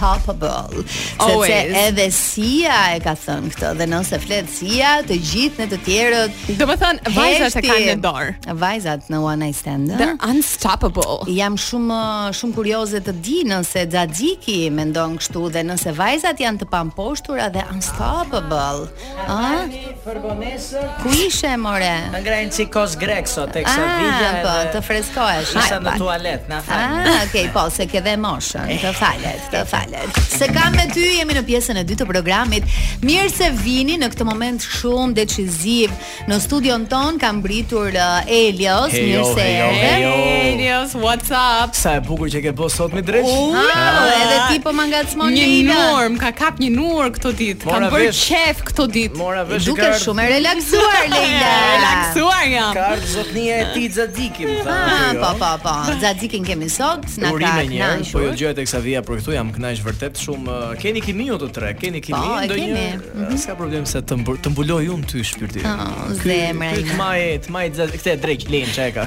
S2: unstoppable. Sepse
S3: Always.
S2: edhe Sia e ka thënë këtë dhe nëse flet Sia, të gjithë ne të tjerët
S3: Do të thënë vajzat e
S2: heshti- Ah.
S3: kanë në dorë.
S2: Vajzat në One Night Stand. ë?
S3: They're unstoppable.
S2: Jam shumë shumë kurioze të di nëse Xhaxhiki mendon kështu dhe nëse vajzat janë të pamposhtura dhe unstoppable. Ë?
S6: Fërbonesën
S2: Ku ishe more?
S6: Në ngrajnë si kos grek sot, e
S2: Ah,
S6: kësa vidja
S2: po,
S6: edhe
S2: të freskohesh.
S6: Shisa
S2: Haj,
S6: në
S2: pa.
S6: tualet, na falë
S2: Ah, okay, po, se ke dhe moshën. Të
S3: Eh.
S2: falet, të falet. Se kam me ty jemi në pjesën e dytë të programit. Mirë se vini në këtë moment shumë deciziv. Në studion ton ka mbritur uh, Elios,
S6: Hejo,
S2: mirë se
S6: hejo,
S2: erdhe.
S6: hejo.
S3: Hey, Elios, what's up?
S6: Sa e bukur që ke bo sot me drejt
S2: Ah, edhe ti po më ngacmon
S3: Një
S2: Leila.
S3: nur, më ka kap një nur këto ditë. Kam
S6: Mora
S3: bërë
S6: vesh.
S3: qef këto ditë.
S6: Mora vesh
S2: Duke shumë e relaksuar Leila.
S3: Relaksuar jam.
S6: Kardë zotnia e ti Xhaxhikin.
S2: Ah, po po po. Xhaxhikin kemi sot, na ka
S4: jo? Urime një herë, po
S2: kënaqur.
S4: ju dëgjoj tek Savia për këtu jam kënaq vërtet shumë. uh, Keni kimi ju të tre, keni kimi
S2: Po, e kemi.
S4: uh, s'ka problem se të mbul, të mbuloj unë ty shpirti.
S2: Oh, zemra
S4: Ky
S2: ime.
S4: tmaj, tmaj këtë e drejt Len çka e ka.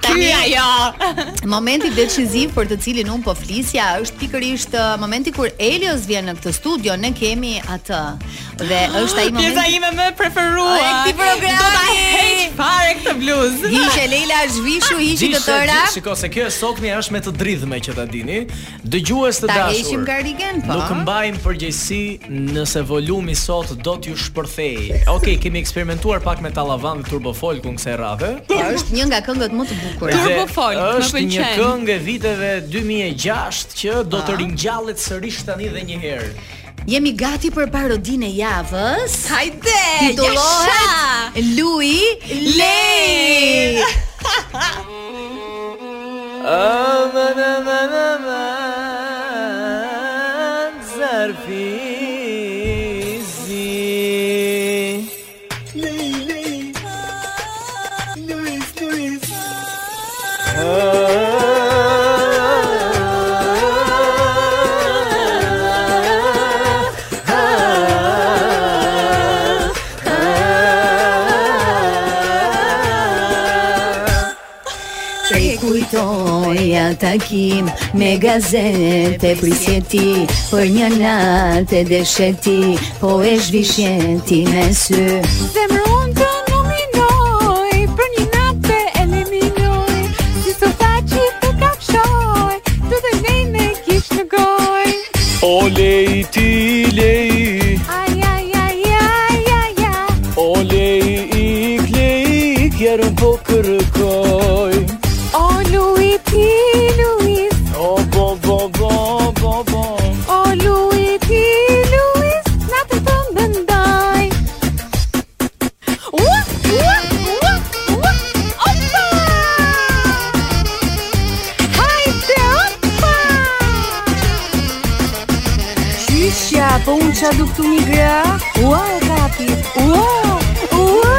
S3: Ky ajo.
S2: Momenti deciziv për të cilin un po flisja është pikërisht ë, momenti kur Elios vjen në këtë studio, ne kemi atë. Dhe është ai
S3: Pjesa
S2: moment.
S3: ime më e preferuar.
S2: E këtij programi.
S3: Do ta heq fare këtë bluzë.
S2: Hiqe Leila është vishu, hiqi të
S4: Gjishe,
S2: tëra.
S4: gjishe, Shiko se kjo e soknia është me të dridhme që ta dini. Dëgjues të
S2: Ta
S4: dashur.
S2: heqim karrigen, po.
S4: Nuk mbajmë përgjegjësi nëse volumi sot do t'ju shpërthejë. Okej, kemi eksperimentuar pak me Tallavan dhe Turbo Folkun kësaj radhe.
S2: Është një nga këngët më të bukura.
S3: Turbo
S4: Dhe
S3: Folk, më
S4: Është një
S3: pëlqen.
S4: këngë e viteve 2006 që do të ringjallet sërish tani dhe një herë.
S2: Jemi gati për parodinë e javës.
S3: Hajde.
S2: Titullohet Lui Lej.
S4: Aman aman aman zarfi zi.
S2: E kujtoja takim me gazete prisjeti Për një natë e desheti Po e zhvishjeti me sy
S3: Zemrën të nominoj Për një natë të eliminoj Si së tha që të kafshoj Të dhe nej me kish në goj
S4: O lej ti lej,
S3: Aj, aj, aj, aj, aj, aj
S4: o lej ik lej ik jarën po kërkoj
S3: O Lui ti, Luis
S4: O bo bo bo bo bo
S3: O Lui ti, Luis Natën të mbëndoj Ua, ua, ua, ua Opa Hajde, opa
S1: Qyshja, po unë qa du këtu një gra Ua e kapi Ua, ua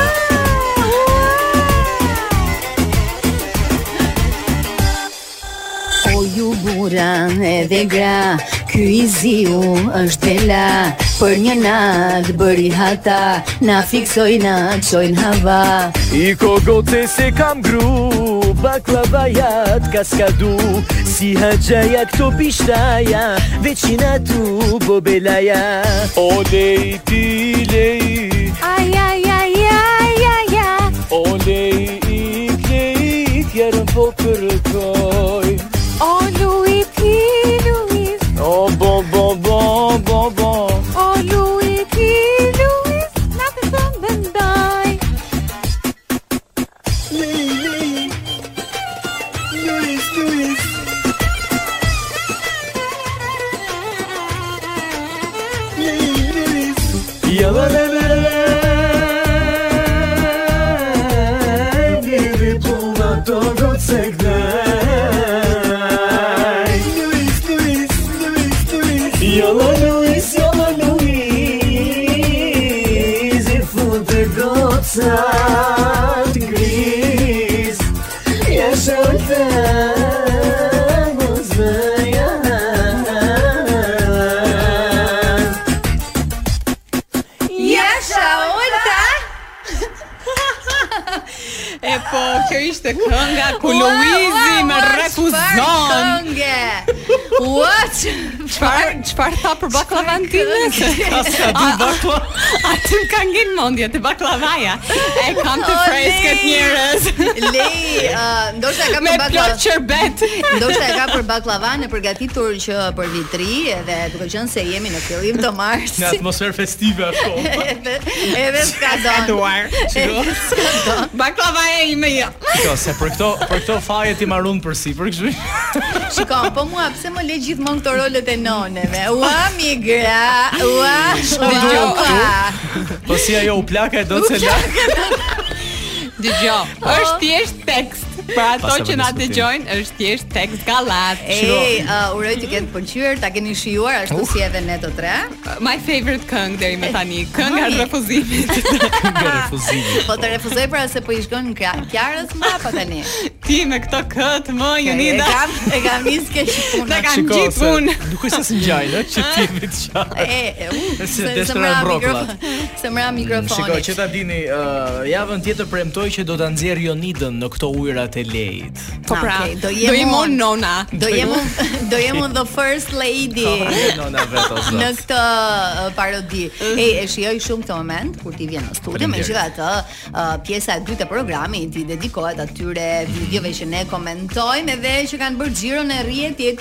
S2: O Po ju bura edhe gra Ky i ziu është bela Për një natë bëri hata Na fiksoj na qojnë hava
S4: I ko gote se kam gru Baklavajat ka skadu Si haqaja këto pishtaja Veçina tu bobelaja O lej ti lej
S3: Ai ai ai ai ai ai
S4: O lej ik lej ik Jarën po kërkoj
S3: O Lui ti Luis
S4: O bo bo bo bo bo
S3: O Lui ti Luis Na të thëmë bëndaj
S7: Luis, Luis,
S4: Kocat gris Jeshol të
S2: Jasha Ulta
S3: E po, kjo ishte kënga ku
S2: Ua,
S3: Luizi
S2: ua,
S3: më
S2: ua,
S3: refuzon.
S2: çfarë kënge. Ua, çfarë
S3: Çfarë çfarë tha për baklavantines? Ka du bakla. Aty më ka ngel mendja te baklavaja. E kam të
S2: Ole!
S3: freskët njerëz.
S2: Lej, uh, ndoshta e ka
S3: Me
S2: për baklava.
S3: plot qerbet.
S2: Ndoshta e ka për baklava në përgatitur që për vitri edhe duke qenë se jemi në fillim të marsit.
S4: Në atmosferë festive ashtu
S2: edhe edhe s'ka
S3: Ka
S2: don.
S3: duar. Baklavaja ime jo.
S4: Jo, se për këto, për këto faje ti marun për si Për kështu
S2: Shikon, po mua pse më le gjithmonë këto rolet e noneve? Ua migra, ua.
S3: dua
S2: ua, ua.
S4: Po si ajo u plaka e do të se la
S3: Dëgjoj. Është thjesht tekst. Për ato
S4: Pastaj
S3: që na
S4: me diskutim.
S3: dëgjojnë, është thjesht tekst gallat.
S2: Ej, uh, uroj të ketë pëlqyer, ta keni shijuar
S4: Uh.
S2: ashtu si edhe ne të tre.
S3: My favorite këngë deri më tani, kënga e refuzimit.
S4: Nga refuzimi
S2: Po të refuzoj pra se po i shkon kra- kjarës mbrapa po tani.
S3: Ti me këto këtë më
S2: E
S3: Junida.
S2: kam, e kam nisë keq
S3: Ta
S2: punën.
S3: kam
S4: Shiko,
S3: gjithë
S4: se
S3: unë.
S4: Nuk është asë ngjajnë, ë, që ti me të qarë
S2: E, e, u,
S4: Se
S2: se
S4: deshtra
S2: se mra
S4: e mrokullat.
S2: mikrofon- Se mra mikrofonit.
S4: Shiko, që ta dini, ë, javën tjetër premtoj që do ta nxjerr Jonidën në këto ujërat e lejit.
S3: Po pra,
S2: Okej, do
S3: do
S2: jem
S3: jem
S2: unë.
S3: unë nona.
S2: Do jem unë- do jem unë the first lady
S4: Nona vetë o
S2: në
S4: zot.
S2: këtë uh, parodi.
S3: Mhm.
S2: Ej, e shijoj shumë këtë moment kur ti vjen në studio,
S4: Faleminderit.
S2: megjithatë, uh, pjesa e dytë e programit i dedikohet atyre videove që ne komentojmë edhe që kanë bërë xhiron e rrjetit.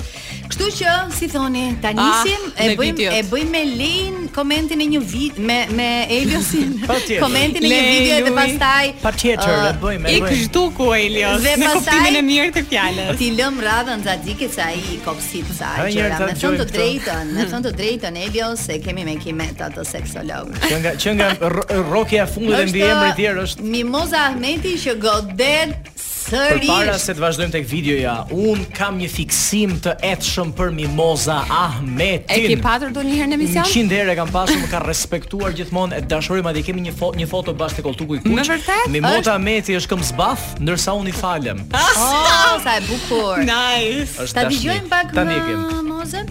S2: Kështu që, si thoni, ta nisim,
S3: Ah,
S2: e
S3: me
S2: bëjmë
S3: videot.
S2: e bëjmë me Lein komentin e një video me me Eliosin.
S4: Patjetër.
S2: komentin e një
S3: Lej,
S2: video dhe
S3: Lui.
S2: pastaj uh,
S4: Patjetër,
S2: ë,
S4: e bëjmë, e
S3: Ik
S4: bëjmë.
S3: zhdu ku Elios,
S2: Dhe
S3: në
S2: pastaj-
S3: kuptimin e mirë të fjalës.
S2: Ti lëm radhën za dikit sa ai i kopsit sa
S4: Ha,
S2: gjëra.
S4: njerë ta
S2: Me thënë të
S4: dëgjojmë këtë.
S2: drejtën, me thënë të drejtën Elio se kemi me kimeta të seksolog.
S4: Që nga që nga r- rrokja e fundit dhe mbiemri i tjerë është
S2: Mimoza Ahmeti që godet
S4: Përpara
S2: sërish.
S4: se të vazhdojmë tek videoja, un kam një fiksim të etshëm për Mimoza Ahmetin.
S3: E ke patur do njëherë në emision?
S4: 100 herë e kam pasur, më ka respektuar gjithmonë e dashurim atje kemi një foto, një foto bashkë te koltuku i kuq.
S3: Me vërtet?
S4: Mimota Ahmeti është këmbë zbath, ndërsa unë i falem.
S2: Oh, sa e bukur.
S3: Nice.
S4: Është
S2: Ta
S4: dashni.
S2: dëgjojmë pak
S4: Ta
S2: më
S4: nikim.
S2: Mozën.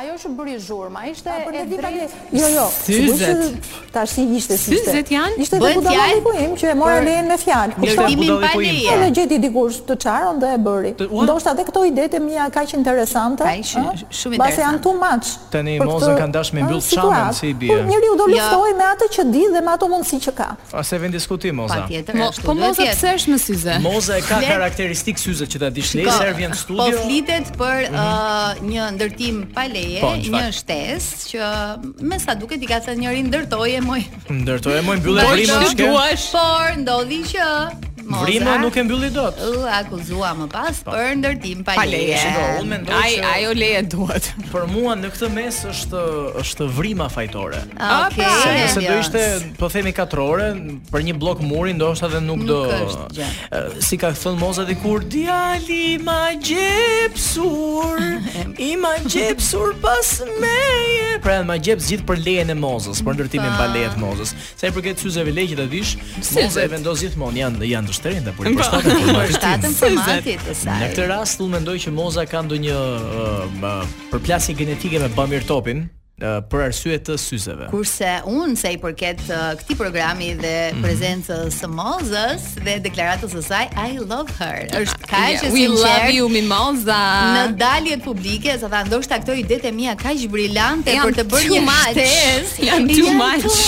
S8: Ajo që bëri zhurma, ishte e drejtë.
S9: Jo, jo.
S3: Syzet.
S9: sigurisht që Tash i ishte syze.
S3: Syzet janë?
S9: Ishte dhe
S2: Bëhet
S9: budallë
S2: fjalë
S9: ku im që e morën
S2: për
S9: lejen me fjalë. Kupton?
S2: Lërtimin
S4: budalli
S2: pa
S4: ku im.
S2: leje.
S9: Në gjeti dikur të çaron dhe e bëri.
S4: Të- ua?
S9: Ndoshta edhe këto ide të mia kaq interesante.
S2: Ka ishin
S9: ëh,
S2: shumë
S9: Basi janë
S2: interesante.
S9: too much.
S4: Tani
S9: për
S4: Mozën
S9: këtë,
S4: kanë dashur me mbyll
S9: ëh,
S4: çamën,
S9: situatë.
S4: si i bie.
S9: Po, Njeriu do
S2: Jo.
S9: luftoj me atë që di dhe me ato mundësi që ka.
S4: A se vend diskutim Moza.
S2: Patjetër,
S3: Mo,
S2: ashtu
S3: po
S2: duhet
S3: mos e
S2: jetë.
S3: pse është më syze?
S4: Moza e ka
S2: Flet-
S4: karakteristik syze që ta dish
S2: Ka-
S4: nesër vjen në studio. Mhm.
S2: Po flitet për ë, një ndërtim pa leje,
S4: Po, në fakt.
S2: një shtesë që me sa duket i ka thënë njëri ndërtoje moj.
S4: Ndërtoj e moj mbyllë
S3: Po
S4: vrimën
S3: që
S4: shke.
S3: duash?
S2: Por ndodhi që Moza-
S4: Vrimë nuk e mbylli dot.
S2: u akuzua më pas për ndërtim pa
S3: Pa leje.
S2: leje.
S4: Shiko, unë mendoj
S3: Ai
S4: që-
S3: ajo leje duhet.
S4: Për mua në këtë mes është është vrima fajtore.
S2: Okej.
S3: pra,
S4: Se nëse do
S2: Elios.
S4: ishte, po themi katrore, për një blok muri ndoshta edhe nuk,
S2: Nuk
S4: do.
S2: është gjë.
S4: Ë, Si ka thënë Moza dikur, djali ma gjepsur, i ma gjepsur pas meje. Pra ma gjep gjithë për lejen e Mozës, për ndërtimin pa lejet të Mozës. Sa i përket syzeve leqë ta dish, Moza e vendos gjithmonë janë janë të shtrenjta por i
S3: Po.
S4: përshtaten për marketing.
S2: Shtatën formatit të
S4: Në
S2: saj.
S4: këtë rast unë mendoj që Moza ka ndonjë uh, uh, përplasje genetike me Bamir Topin uh, për arsye të syzeve.
S2: Kurse unë se i përket uh, këtij programi dhe
S4: Mhm.
S2: prezencës së Mozës dhe deklaratës së saj I love her. Është kaq e
S3: We love
S2: sinqert
S3: you Mimoza.
S2: në daljet publike, sa tha ndoshta këto ide e mia kaq brillante
S3: Janë
S2: për të bërë
S3: too
S2: një
S3: much.
S2: shtesë.
S3: Janë too much.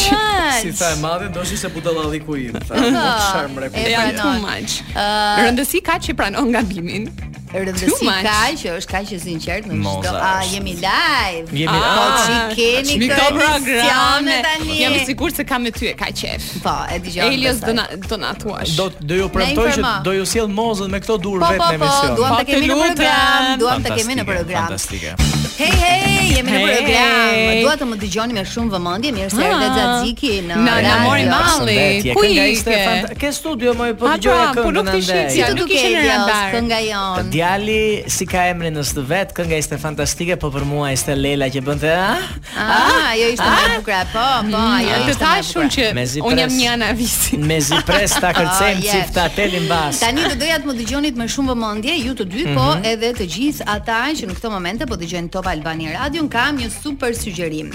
S4: Si tha e madhe, ndoshta se budallalli ku im. Tha, çfarë mrekulli.
S2: e
S3: Janë too
S2: pranon.
S3: much.
S2: Ë,
S3: Rëndësi ka që i pranon gabimin. Too
S2: Rëndësi
S3: much.
S2: ka që është kaq e sinqert në
S4: Moza
S2: çdo. A
S4: është.
S2: jemi live?
S4: Jemi
S3: Ah,
S2: Po që i keni
S3: mi
S2: këtë
S3: këto programe.
S2: emisionet tani.
S3: Jam e sigurt se kam me ty e ka qef.
S2: Po, e dëgjoj.
S3: Elios dona donatuash.
S4: Do do ju premtoj që
S2: informo.
S4: do ju sjell Mozën me këto dur
S2: Po,
S4: vetë
S2: po,
S4: në
S2: po,
S4: emision.
S2: duam
S3: Po,
S2: të
S3: të
S2: kemi në
S3: lutem.
S2: program, duam të kemi në program.
S4: Fantastike.
S2: Hey, hey, jemi në
S3: Hey.
S2: program. Dua të më dëgjoni me shumë vëmendje, mirë se erdhe
S3: Ah.
S2: Xaxiki në
S3: Na- na
S2: radio.
S3: mori malli.
S4: Shëndetje,
S3: Ku
S4: kënga
S3: i
S4: ishte
S3: ke?
S4: fanta- Ke studio më po
S3: A,
S4: dëgjoja
S3: pra, po
S4: këngën
S3: nuk ti
S4: andaj.
S3: shitja.
S2: Si
S3: nuk
S2: nuk
S3: ishe
S2: ishe
S3: në radar.
S2: Kënga jon.
S4: Djali si ka emrin në së vet, kënga ishte fantastike, po për mua ishte Lela që bënte ah,
S2: Ah, ajo ishte më e bukur. Po, po, ajo
S3: Mm,
S2: ishte. më
S3: Të
S2: e
S3: thash unë që
S4: Me zi
S3: unë jam
S4: pres.
S3: një ana visi.
S4: me zipres ta
S2: Ah,
S4: kërcejmë oh,
S2: yes.
S4: çift atelin bas. Mhm.
S2: Tani do doja të më dëgjonit me shumë vëmendje ju të dy, po edhe të gjithë ata që në këto momente po dëgjojnë Top Albani Radio, kam një super sugjerim.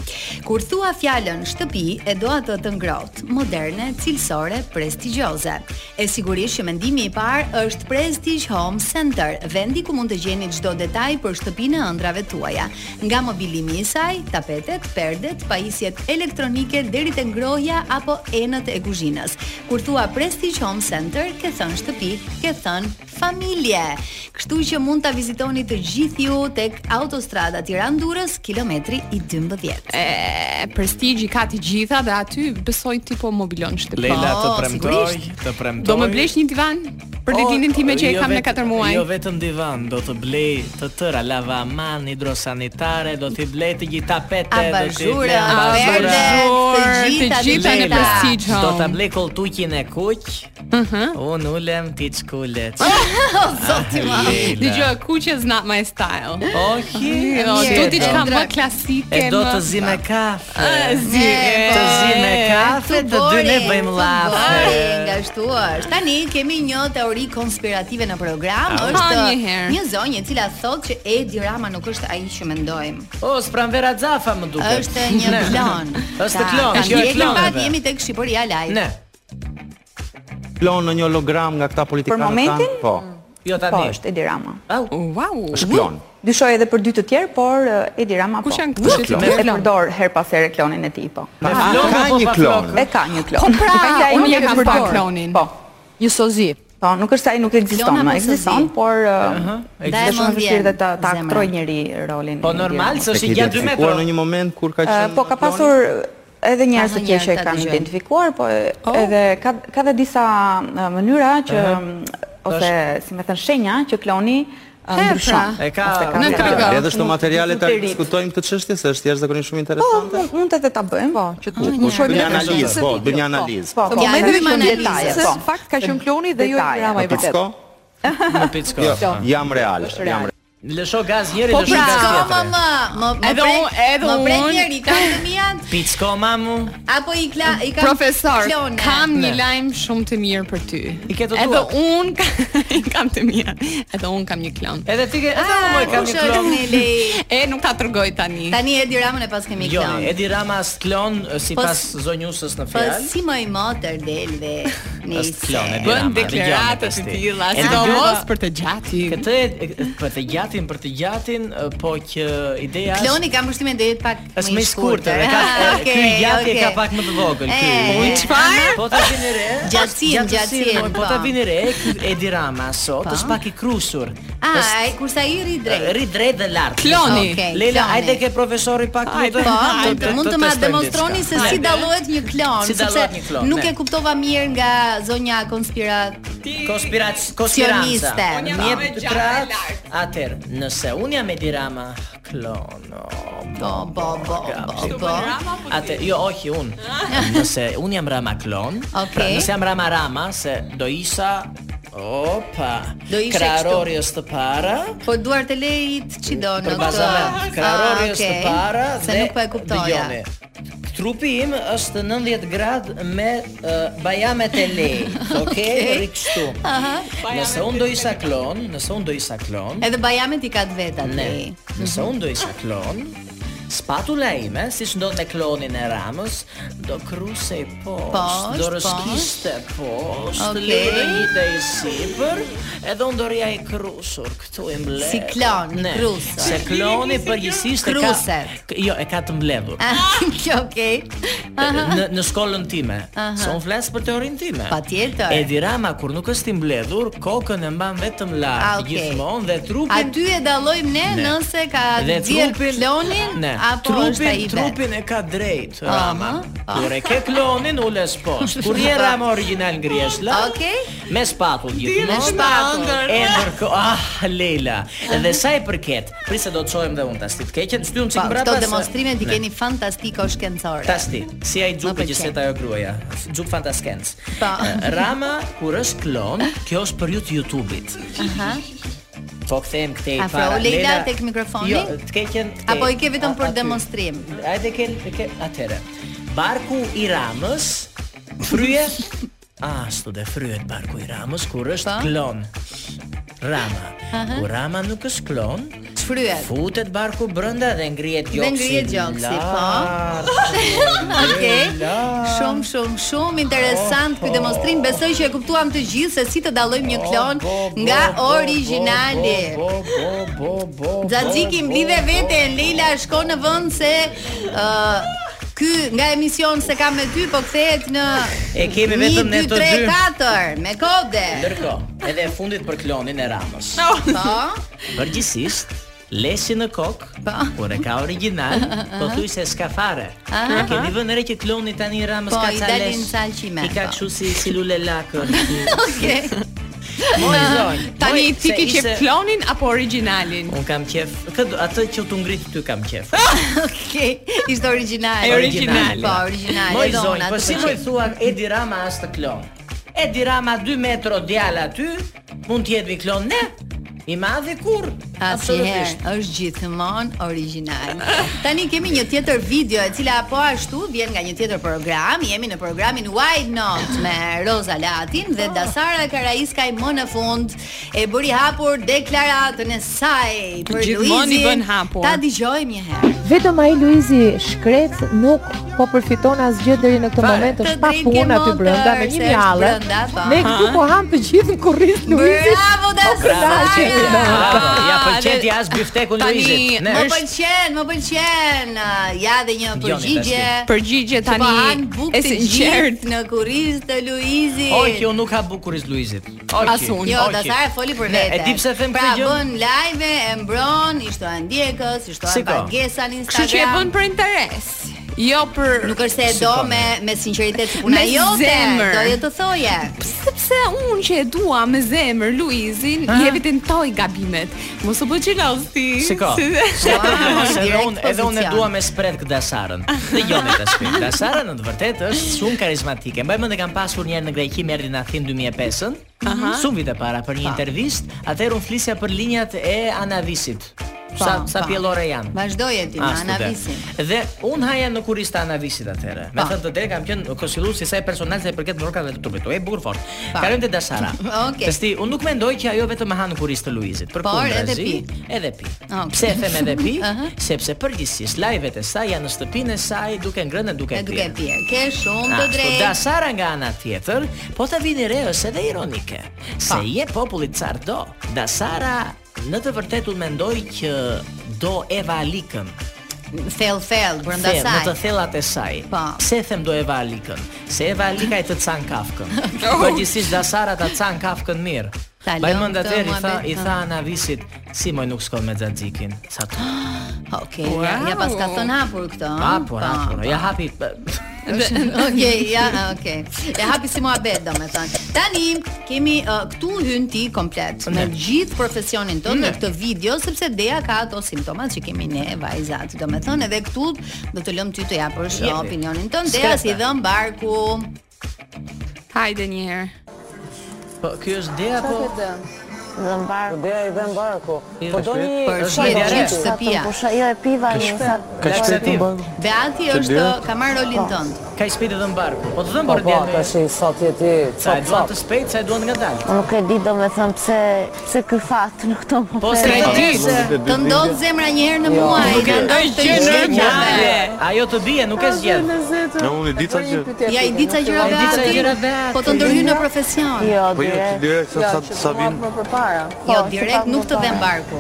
S2: Kur thua fjalën shtëpi, e do atë të ngrohtë, moderne, cilësore, prestigjioze. E sigurisht që mendimi i parë është Prestige Home Center, vendi ku mund të gjeni çdo detaj për shtëpinë e ëndrave tuaja, nga mobilimi i saj, tapetet, perdet, pajisjet elektronike deri te ngrohja apo enët e kuzhinës. Kur thua Prestige Home Center, ke thënë shtëpi, ke thënë familje. Kështu që mund ta vizitoni të gjithë ju tek autostrada Tiranë-Durrës, kilometri i 12.
S3: E, prestigji ka të gjitha dhe aty besoj ti po mobilon shtëpi. Po,
S4: Lela të
S2: Po,
S4: premtoj,
S2: sigurisht.
S4: të premtoj.
S3: Do më blesh një divan për ditën time që e
S4: jo
S3: kam në
S4: vet-
S3: 4 muaj.
S4: Jo vetëm divan, do të blej të tëra lavaman, hidrosanitare, do t'i blej të gjithë tapete,
S2: Abazhure,
S4: abazhure,
S2: verde, të
S3: Abazhure,
S2: gjitha,
S3: të gjitha
S4: Lela,
S3: në Prestige Mhm. Home.
S4: Do ta blej koltuqin e kuq. Unë ulem ti çkulet. Zoti ma.
S3: Dëgjoj, kuqe is not my style.
S4: Ohi.
S3: Jo, do
S4: tjetër.
S3: ti ka më klasike.
S4: E do
S3: më-
S4: të zi me kafe.
S3: zi.
S2: E,
S4: Të zi me kafe, të dy ne
S2: bori,
S4: bëjmë
S2: tu
S4: llafe.
S2: bori, Nga shtu është. Tani kemi një teori konspirative në program.
S4: Ah.
S3: Ha,
S2: Është
S3: një herë.
S2: një zonjë e cila thotë që Edi Rama nuk është ai që mendojmë.
S4: O, s'pranvera Xafa më duket.
S2: Është një
S4: Ne.
S2: klon.
S4: Është klon,
S2: Ka
S4: kjo e
S2: ndjekim
S4: kloneve.
S2: pat, jemi tek Shqipëria live.
S4: Ne.
S7: klon në një hologram nga këta politikanë
S10: Për momentin?
S7: tanë? Po,
S4: Jo
S10: Po,
S4: tani.
S10: është Edi Rama.
S3: Wow.
S7: është klon.
S10: Dyshoj edhe për dy të tjerë, por eh, Edi Rama po.
S3: Kush janë këto
S7: klon.
S10: E
S3: shitje?
S10: përdor her pas here klonin e tij, po.
S4: Me
S7: Ah,
S4: flokë
S7: ka
S4: apo
S7: një
S4: pa
S7: klon.
S4: flokë?
S10: E ka një klon.
S11: Po pra,
S10: Prandaj
S3: unë
S10: nuk
S3: e
S10: e
S3: kam
S10: përdor.
S3: pa klonin.
S10: Po.
S11: Një sozi.
S10: Po, nuk është se ai nuk
S2: Klon
S10: ekziston,
S2: apo
S10: ma, ekziston,
S2: sozi?
S10: por
S2: Da e
S10: është shumë e
S2: mundjen
S10: vështirë dhe ta ta
S2: zemra.
S10: aktroj njëri rolin.
S4: Po
S10: e Edi
S4: normal,
S10: Ramës.
S4: se
S7: Tek
S4: është i gjatë 2
S7: identifikuar
S4: metra.
S7: në një moment kur ka
S10: Eh,
S7: qenë
S10: Po ka
S7: kloni?
S10: pasur edhe njerëz
S2: Ka
S10: të
S2: ndonjë
S10: tjerë
S2: herë
S10: që
S2: ta
S10: e kanë
S2: dëgjoj.
S10: identifikuar, po e- edhe ka ka dhe disa eh, mënyra që mm, ose si më thënë shenja që kloni eh, ndryshon.
S4: pra. E ka-
S10: Ose
S3: Në
S10: ndryshon.
S3: kagë.
S7: Edhe shto
S10: Nuk-
S7: materiale
S10: nuk
S7: ta
S10: e rit.
S7: diskutojmë këtë çështje se është jashtëzakonisht shumë
S10: Po,
S7: interesante.
S10: mund- mund edhe ta bëjmë, po, që të
S4: Ah,
S7: Mund të bëjmë një analizë, po, bëjmë një analizë.
S10: Po, po,
S2: Ja,
S10: me
S2: hyjmë
S10: vetëm
S2: analizë,
S10: detaje,
S2: se
S10: po.
S11: Në fakt ka qenë kloni dhe jo
S10: Detaje.
S11: Edi Rama i
S7: Po
S11: vërtet.
S7: picko?
S4: Në pickë.
S7: Jo, jam real, jam real.
S4: Lësho gaz njëri,
S3: Po
S4: lësho
S3: pra,
S4: gaz
S2: Piçko më
S4: tjetri.
S2: më, më më
S3: Edhe
S2: prek-
S3: unë- edhe
S2: Më prek
S3: unë.
S2: njëri ka të mijat
S4: Piçko mamu.
S2: apo i kla i ka
S3: Profesor,
S2: klone.
S3: kam një
S4: Ne.
S3: lajm shumë të mirë për ty.
S4: I ke të
S3: Edhe
S4: duat.
S3: un i kam të mirë. Edhe un kam një klon.
S4: Edhe ti ke, edhe unë
S2: Ah,
S4: e kam
S2: kush
S4: një
S2: është
S4: klon.
S2: Neli?
S3: E nuk ta tregoj tani.
S2: Tani Edi Ramën e pas kemi
S4: Jo,
S2: klon.
S4: Edi Rama është klon sipas zonjusës në
S2: Po
S4: fjalë.
S2: si më i motër del dhe
S4: Është klon Edi
S3: Bën
S4: Rama.
S3: deklarata të
S4: dëgjoni,
S3: tilla,
S4: Edi
S3: sidomos
S4: Rama-
S3: për të gjati.
S4: Këtë e- për të gjatin, për të gjatin, e, po që ideja është
S2: Kloni kam përshtimin do jetë pak
S4: është më i shkurtër. e Ka
S2: Ah,
S4: e, ky
S2: okay,
S4: gjati e
S2: okay.
S4: ka pak më të vogël ky.
S2: E,
S4: Ujë,
S3: çfarë?
S4: Po ta vini re.
S2: eh, Gjatësin,
S4: gjatësin,
S2: gjatësin,
S4: po ta
S2: po.
S4: vini re ky Edi Rama sot është pak i krusur.
S2: Ah,
S4: Është-
S2: ai kurse ai ri drejt.
S4: Rri drejt dhe lart.
S3: Kloni.
S2: Okej.
S4: Lela,
S2: kloni.
S4: hajde ke profesorin pak
S3: Hajde,
S2: Po,
S4: të-
S2: hajde,
S4: të-
S2: mund
S4: të
S2: të ma
S4: testojmë
S2: demonstroni se
S4: diçka.
S2: si
S4: Hajde.
S2: dallohet një klon,
S4: Si dallohet një klon,
S2: nuk
S4: ne.
S2: e kuptova mirë nga zonja konspiratë.
S4: Konspirac, konspiranca.
S2: Sioniste.
S4: Unë jam me gjatë e lartë. Atëherë, nëse unë jam Edi Rama, klon. o,
S2: Po, po, po, po, po.
S4: Atë, jo, ohi unë. Nëse unë jam Rama klon,
S2: Okej.
S4: pra nëse jam Rama Rama, se do isha Opa.
S2: Do ishe
S4: krarori është të para.
S2: Po duart e lejit ç'i do në
S4: Për bazament. Krarori
S2: Ah,
S4: është
S2: okej.
S4: të para
S2: se
S4: dhe
S2: nuk po e kuptoja.
S4: dëgjoni. Trupi im është 90 gradë me uh, bajamet e lejit, okay? Ri kështu. Nëse unë do isha klon, nëse unë do isha klon,
S2: Edhe bajamet i ka të vetat.
S4: Ne, nëse unë do isha klon, spatula ime, si që ndodhë me klonin e ramës, do kruse i poshtë,
S2: Poshtë,
S4: do rëskiste
S2: Okej.
S4: poshtë, okay. lejë një dhe i sipër, edhe unë do rria i krusur, këtu i mbledhur.
S2: Si klon, i
S4: Ne,
S2: krusur.
S4: Se kloni përgjithsisht e ka...
S2: Kruset.
S4: k- Jo, e ka të mbledhur.
S2: Okej, Ah, okej.
S4: Në, në shkollën time, se unë flasë për teorinë time.
S2: Patjetër.
S4: Edi Rama, kur nuk është i mbledhur, kokën e mban vetëm
S2: Ah,
S4: lartë,
S2: okej.
S4: gjithmonë, dhe trupin
S2: Aty e dallojmë ne,
S4: Ne.
S2: nëse ka
S4: Dhe
S2: djerë
S4: trupin-
S2: klonin
S4: Ne.
S2: apo është ai
S4: Trupin,
S2: i vet?
S4: trupin e ka drejt
S2: Aha,
S4: Rama.
S2: aha.
S4: Kur e ke klonin ules poshtë. Kur je Rama original ngrihesh lart.
S2: Okej.
S4: Me spatull gjithmonë.
S2: Me spatull.
S4: E ndërko, ah Leila. Dhe sa i përket, prisa do të shohim dhe unë tasti të keqen, shtym çik
S2: Po,
S4: mbrapa.
S2: këto
S4: se-
S2: demonstrime ti
S4: Ne.
S2: keni fantastiko shkencore.
S4: Tasti, si ai
S2: Më
S4: xhupi që
S2: pëlqen.
S4: set ajo gruaja. Xhup fantaskenc.
S2: Po.
S4: Eh, Rama kur është klon, kjo është për ju të YouTube-it.
S2: Aha.
S4: Po kthehem këtej
S2: Afro,
S4: para.
S2: Leila, pra, tek mikrofoni?
S4: Jo, të keqen. këtej.
S2: Apo i ke vetëm
S4: A-
S2: për
S4: aty.
S2: demonstrim?
S4: Hajde ke, ke atëre. Barku i Ramës frye Ah, sto dhe fryet barku i Ramës kur është klon. Rama.
S2: Po? Aha.
S4: Kur Rama nuk është klon,
S2: Çfryet.
S4: futet barku brenda dhe ngrihet
S2: Dhe
S4: gjoksi.
S2: ngrihet gjoksi, po.
S4: lart.
S2: Okej. Shumë shumë shumë interesant ky demonstrim. Besoj që e kuptuam të gjithë se si të dallojmë një klon nga origjinali. Xhaxhiki mblidhe veten, Leila shko në vend se ë ky nga emision se kam me ty po kthehet në
S4: E kemi vetëm ne
S2: 1,
S4: të
S2: 2, 3,
S4: dy.
S2: 4 me kode.
S4: Ndërkohë, edhe e fundit për klonin e Ramës.
S2: Po.
S4: Përgjithsisht, lesi në kokë, kur e ka original, po thuj se s'ka fare.
S2: Aha.
S4: E kemi vënë re që kloni tani i Ramës
S2: Po
S4: ka
S2: i
S4: ca
S2: dalin
S4: les.
S2: salqime.
S4: I ka
S2: po.
S4: kështu si si lule lakë.
S2: Okej.
S4: Moj zonjë.
S3: Tani
S4: moj,
S3: i
S4: se
S3: tiki që
S4: ishte-
S3: klonin apo originalin?
S4: Un kam qef, këtë atë që tu ngrit ty kam qef.
S2: Okej. Ishte origjinal.
S4: E origjinali.
S2: Po, origjinal.
S4: Moj
S2: edhe
S4: zonjë,
S2: unë
S4: po
S2: atë
S4: si
S2: po
S4: më
S2: qef.
S4: thua Edi Rama as të klon. Edi Rama 2 metro djalë aty, mund të jetë mi klon ne. I madhi kur?
S2: Asnjëherë, është gjithmonë origjinal. Tani kemi një tjetër video e cila po ashtu vjen nga një tjetër program. Jemi në programin Why Not me Roza Latin dhe Dasara Karaiskaj më në fund e bëri hapur deklaratën e saj për
S3: Gjithmonë i
S2: Luizin.
S3: bën hapur.
S2: Ta dëgjojmë një herë.
S12: Vetëm ai Luizi shkret nuk po përfiton asgjë deri në këtë moment, është pa
S2: drejtë ke
S12: punë aty
S2: motër,
S12: brenda me
S2: se
S12: një
S2: është
S12: mjallë.
S2: brenda, po.
S12: Ne këtu
S2: Ha?
S12: po ham të gjithë në kurriz Luizi. Po
S2: Bravo, Dasara!
S4: Ja
S12: dhe-
S4: pëlqeti as biftekun
S3: Tani,
S4: Luizit. Ne
S2: Më
S4: është
S2: pëlqen, më pëlqen. Ah, Ja dhe një përgjigje.
S4: tashti.
S3: Përgjigje tani
S2: Që po han bukë
S3: e
S2: të
S3: sinqert.
S2: gjithë në kuriz të Luizit.
S4: Oj, kjo nuk ka bukuris Luizit. Oj,
S3: As unë.
S2: Jo,
S4: oj,
S2: da Sara foli për
S4: Ne,
S2: vete.
S4: e di pse them
S2: pra,
S4: këtë gjë?
S2: bën live, e mbron, i shtohen ndjekës, i shtohen
S4: Shiko.
S2: pagesa në
S3: Kështu
S2: Instagram.
S3: që e bën për interes. Jo për
S2: Nuk është se e do me me sinqeritet si puna
S3: Me
S2: jote,
S3: zemër.
S2: do jo të thoje.
S3: sepse unë që e dua me zemër Luizin, i evidentoj gabimet. Mos u bë xheloz ti.
S4: Shiko.
S3: Ναι.
S4: Se
S3: Se-
S4: se edhe
S2: direkt
S4: unë edhe unë e
S2: pozicion.
S4: dua me spret këtë Dasarën. Dhe jo me Dasarën. Dasara në të vërtetë është shumë karizmatike. Mbaj mend e kam pasur një herë në Greqi, më erdhi në Athin 2005-ën.
S3: Aha.
S4: Shumë vite para për një intervistë, atëherë unë flisja për linjat e Anavisit. Sa
S2: Pa,
S4: sa
S2: pa.
S4: pjellore janë.
S2: Vazdoje ti me
S4: Ah, student.
S2: anavisin.
S4: Dhe un haja në kurista të anavisit atëherë. Me thënë të drejtë kam qenë konsilluesi sa i personazhe i përket mbrokave të trupit. O e bukur fort.
S2: Pa.
S4: Kalojmë te Dasara.
S2: Okej.
S4: Testi, un nuk mendoj që ajo vetëm e ha në kuris të Luizit. Për
S2: Por, edhe
S4: zi,
S2: pi.
S4: edhe pi.
S2: Okej.
S4: Pse e them edhe pi?
S2: Aha.
S4: Sepse përgjithsisht live-et e saj janë në shtëpinë e saj duke ngrënë e duke
S2: E duke
S4: pirë.
S2: pirë. Ke shumë të
S4: Ashtu,
S2: drejtë.
S4: Dasara nga ana tjetër, po të vini re është edhe ironike, se je popullit çfarë do. Dasara në të vërtetë unë mendoj që do Eva Alikën
S2: Thell thell brenda
S4: Thell,
S2: saj.
S4: Në të thellat e saj.
S2: Po.
S4: Pse them do Eva Alikën? Se Eva Alika e të can kafkën. Përgjithsisht Dasara ta can kafkën mirë.
S2: Ta
S4: Baj
S2: lëm
S4: mend
S2: këtë
S4: atëherë i tha
S2: muhabet,
S4: i
S2: ha.
S4: tha Anavisit, si moj nuk shkon me Xhaxhikin. Sa të
S2: Okej, ja, ja pas ka thënë hapur këtë. ëh?
S4: hapur,
S2: Po.
S4: hapur. ah, Ja hapi.
S2: Okej, ja, okej. E hapi si muhabet domethënë. Tani kemi uh, këtu hyn ti komplet Mm. me
S4: Ne.
S2: gjithë profesionin tonë
S4: Ne.
S2: në këtë video sepse Dea ka ato simptomat që kemi ne vajzat domethënë edhe këtu do të lëm ty të japësh uh,
S3: Jepi.
S2: opinionin tënd. Dea
S4: S'ka
S2: si
S4: ta.
S2: dhëm barku.
S3: Hajde një herë.
S4: Po ky është Dea po
S13: Dhëmbarku. Dea i dhëmbarku. Po do një
S2: Për
S13: është
S2: shkak
S13: një
S2: të
S13: diaret.
S2: gjithë shtëpia.
S13: Po sha jo e piva një sa.
S4: Ka shpejt në barku.
S2: Beati
S4: Që
S2: është
S4: Dea?
S2: ka marrë rolin
S4: Po.
S2: tënd.
S4: Ka i shpejt edhe në barku. Po të dhëm
S13: Po
S4: për
S13: po,
S4: djalin.
S13: tash i sot je ti.
S4: Sa e
S13: cop,
S4: duan
S13: cop.
S4: të shpejt, sa e duan nga dalë.
S2: Po,
S13: Unë Po nuk e di do me thëmë pse, pse ky fat në këto moment.
S4: Po, s'ka di.
S2: Të ndodh zemra një herë në
S13: Jo,
S2: muaj.
S13: nuk e
S2: të ndodh të gjithë gjave.
S4: Ajo të bie, nuk e zgjedh.
S7: Në unë i di ca gjë.
S2: Ja i di ca gjëra
S4: Ja, i di ca gjëra
S2: Beati.
S4: Beati.
S2: Po të ndërhyj në profesion.
S13: Jo,
S7: Po jo, ti direkt sa sa, sa vin.
S9: Më përpara.
S13: para.
S2: Jo, direkt nuk të vëm barku.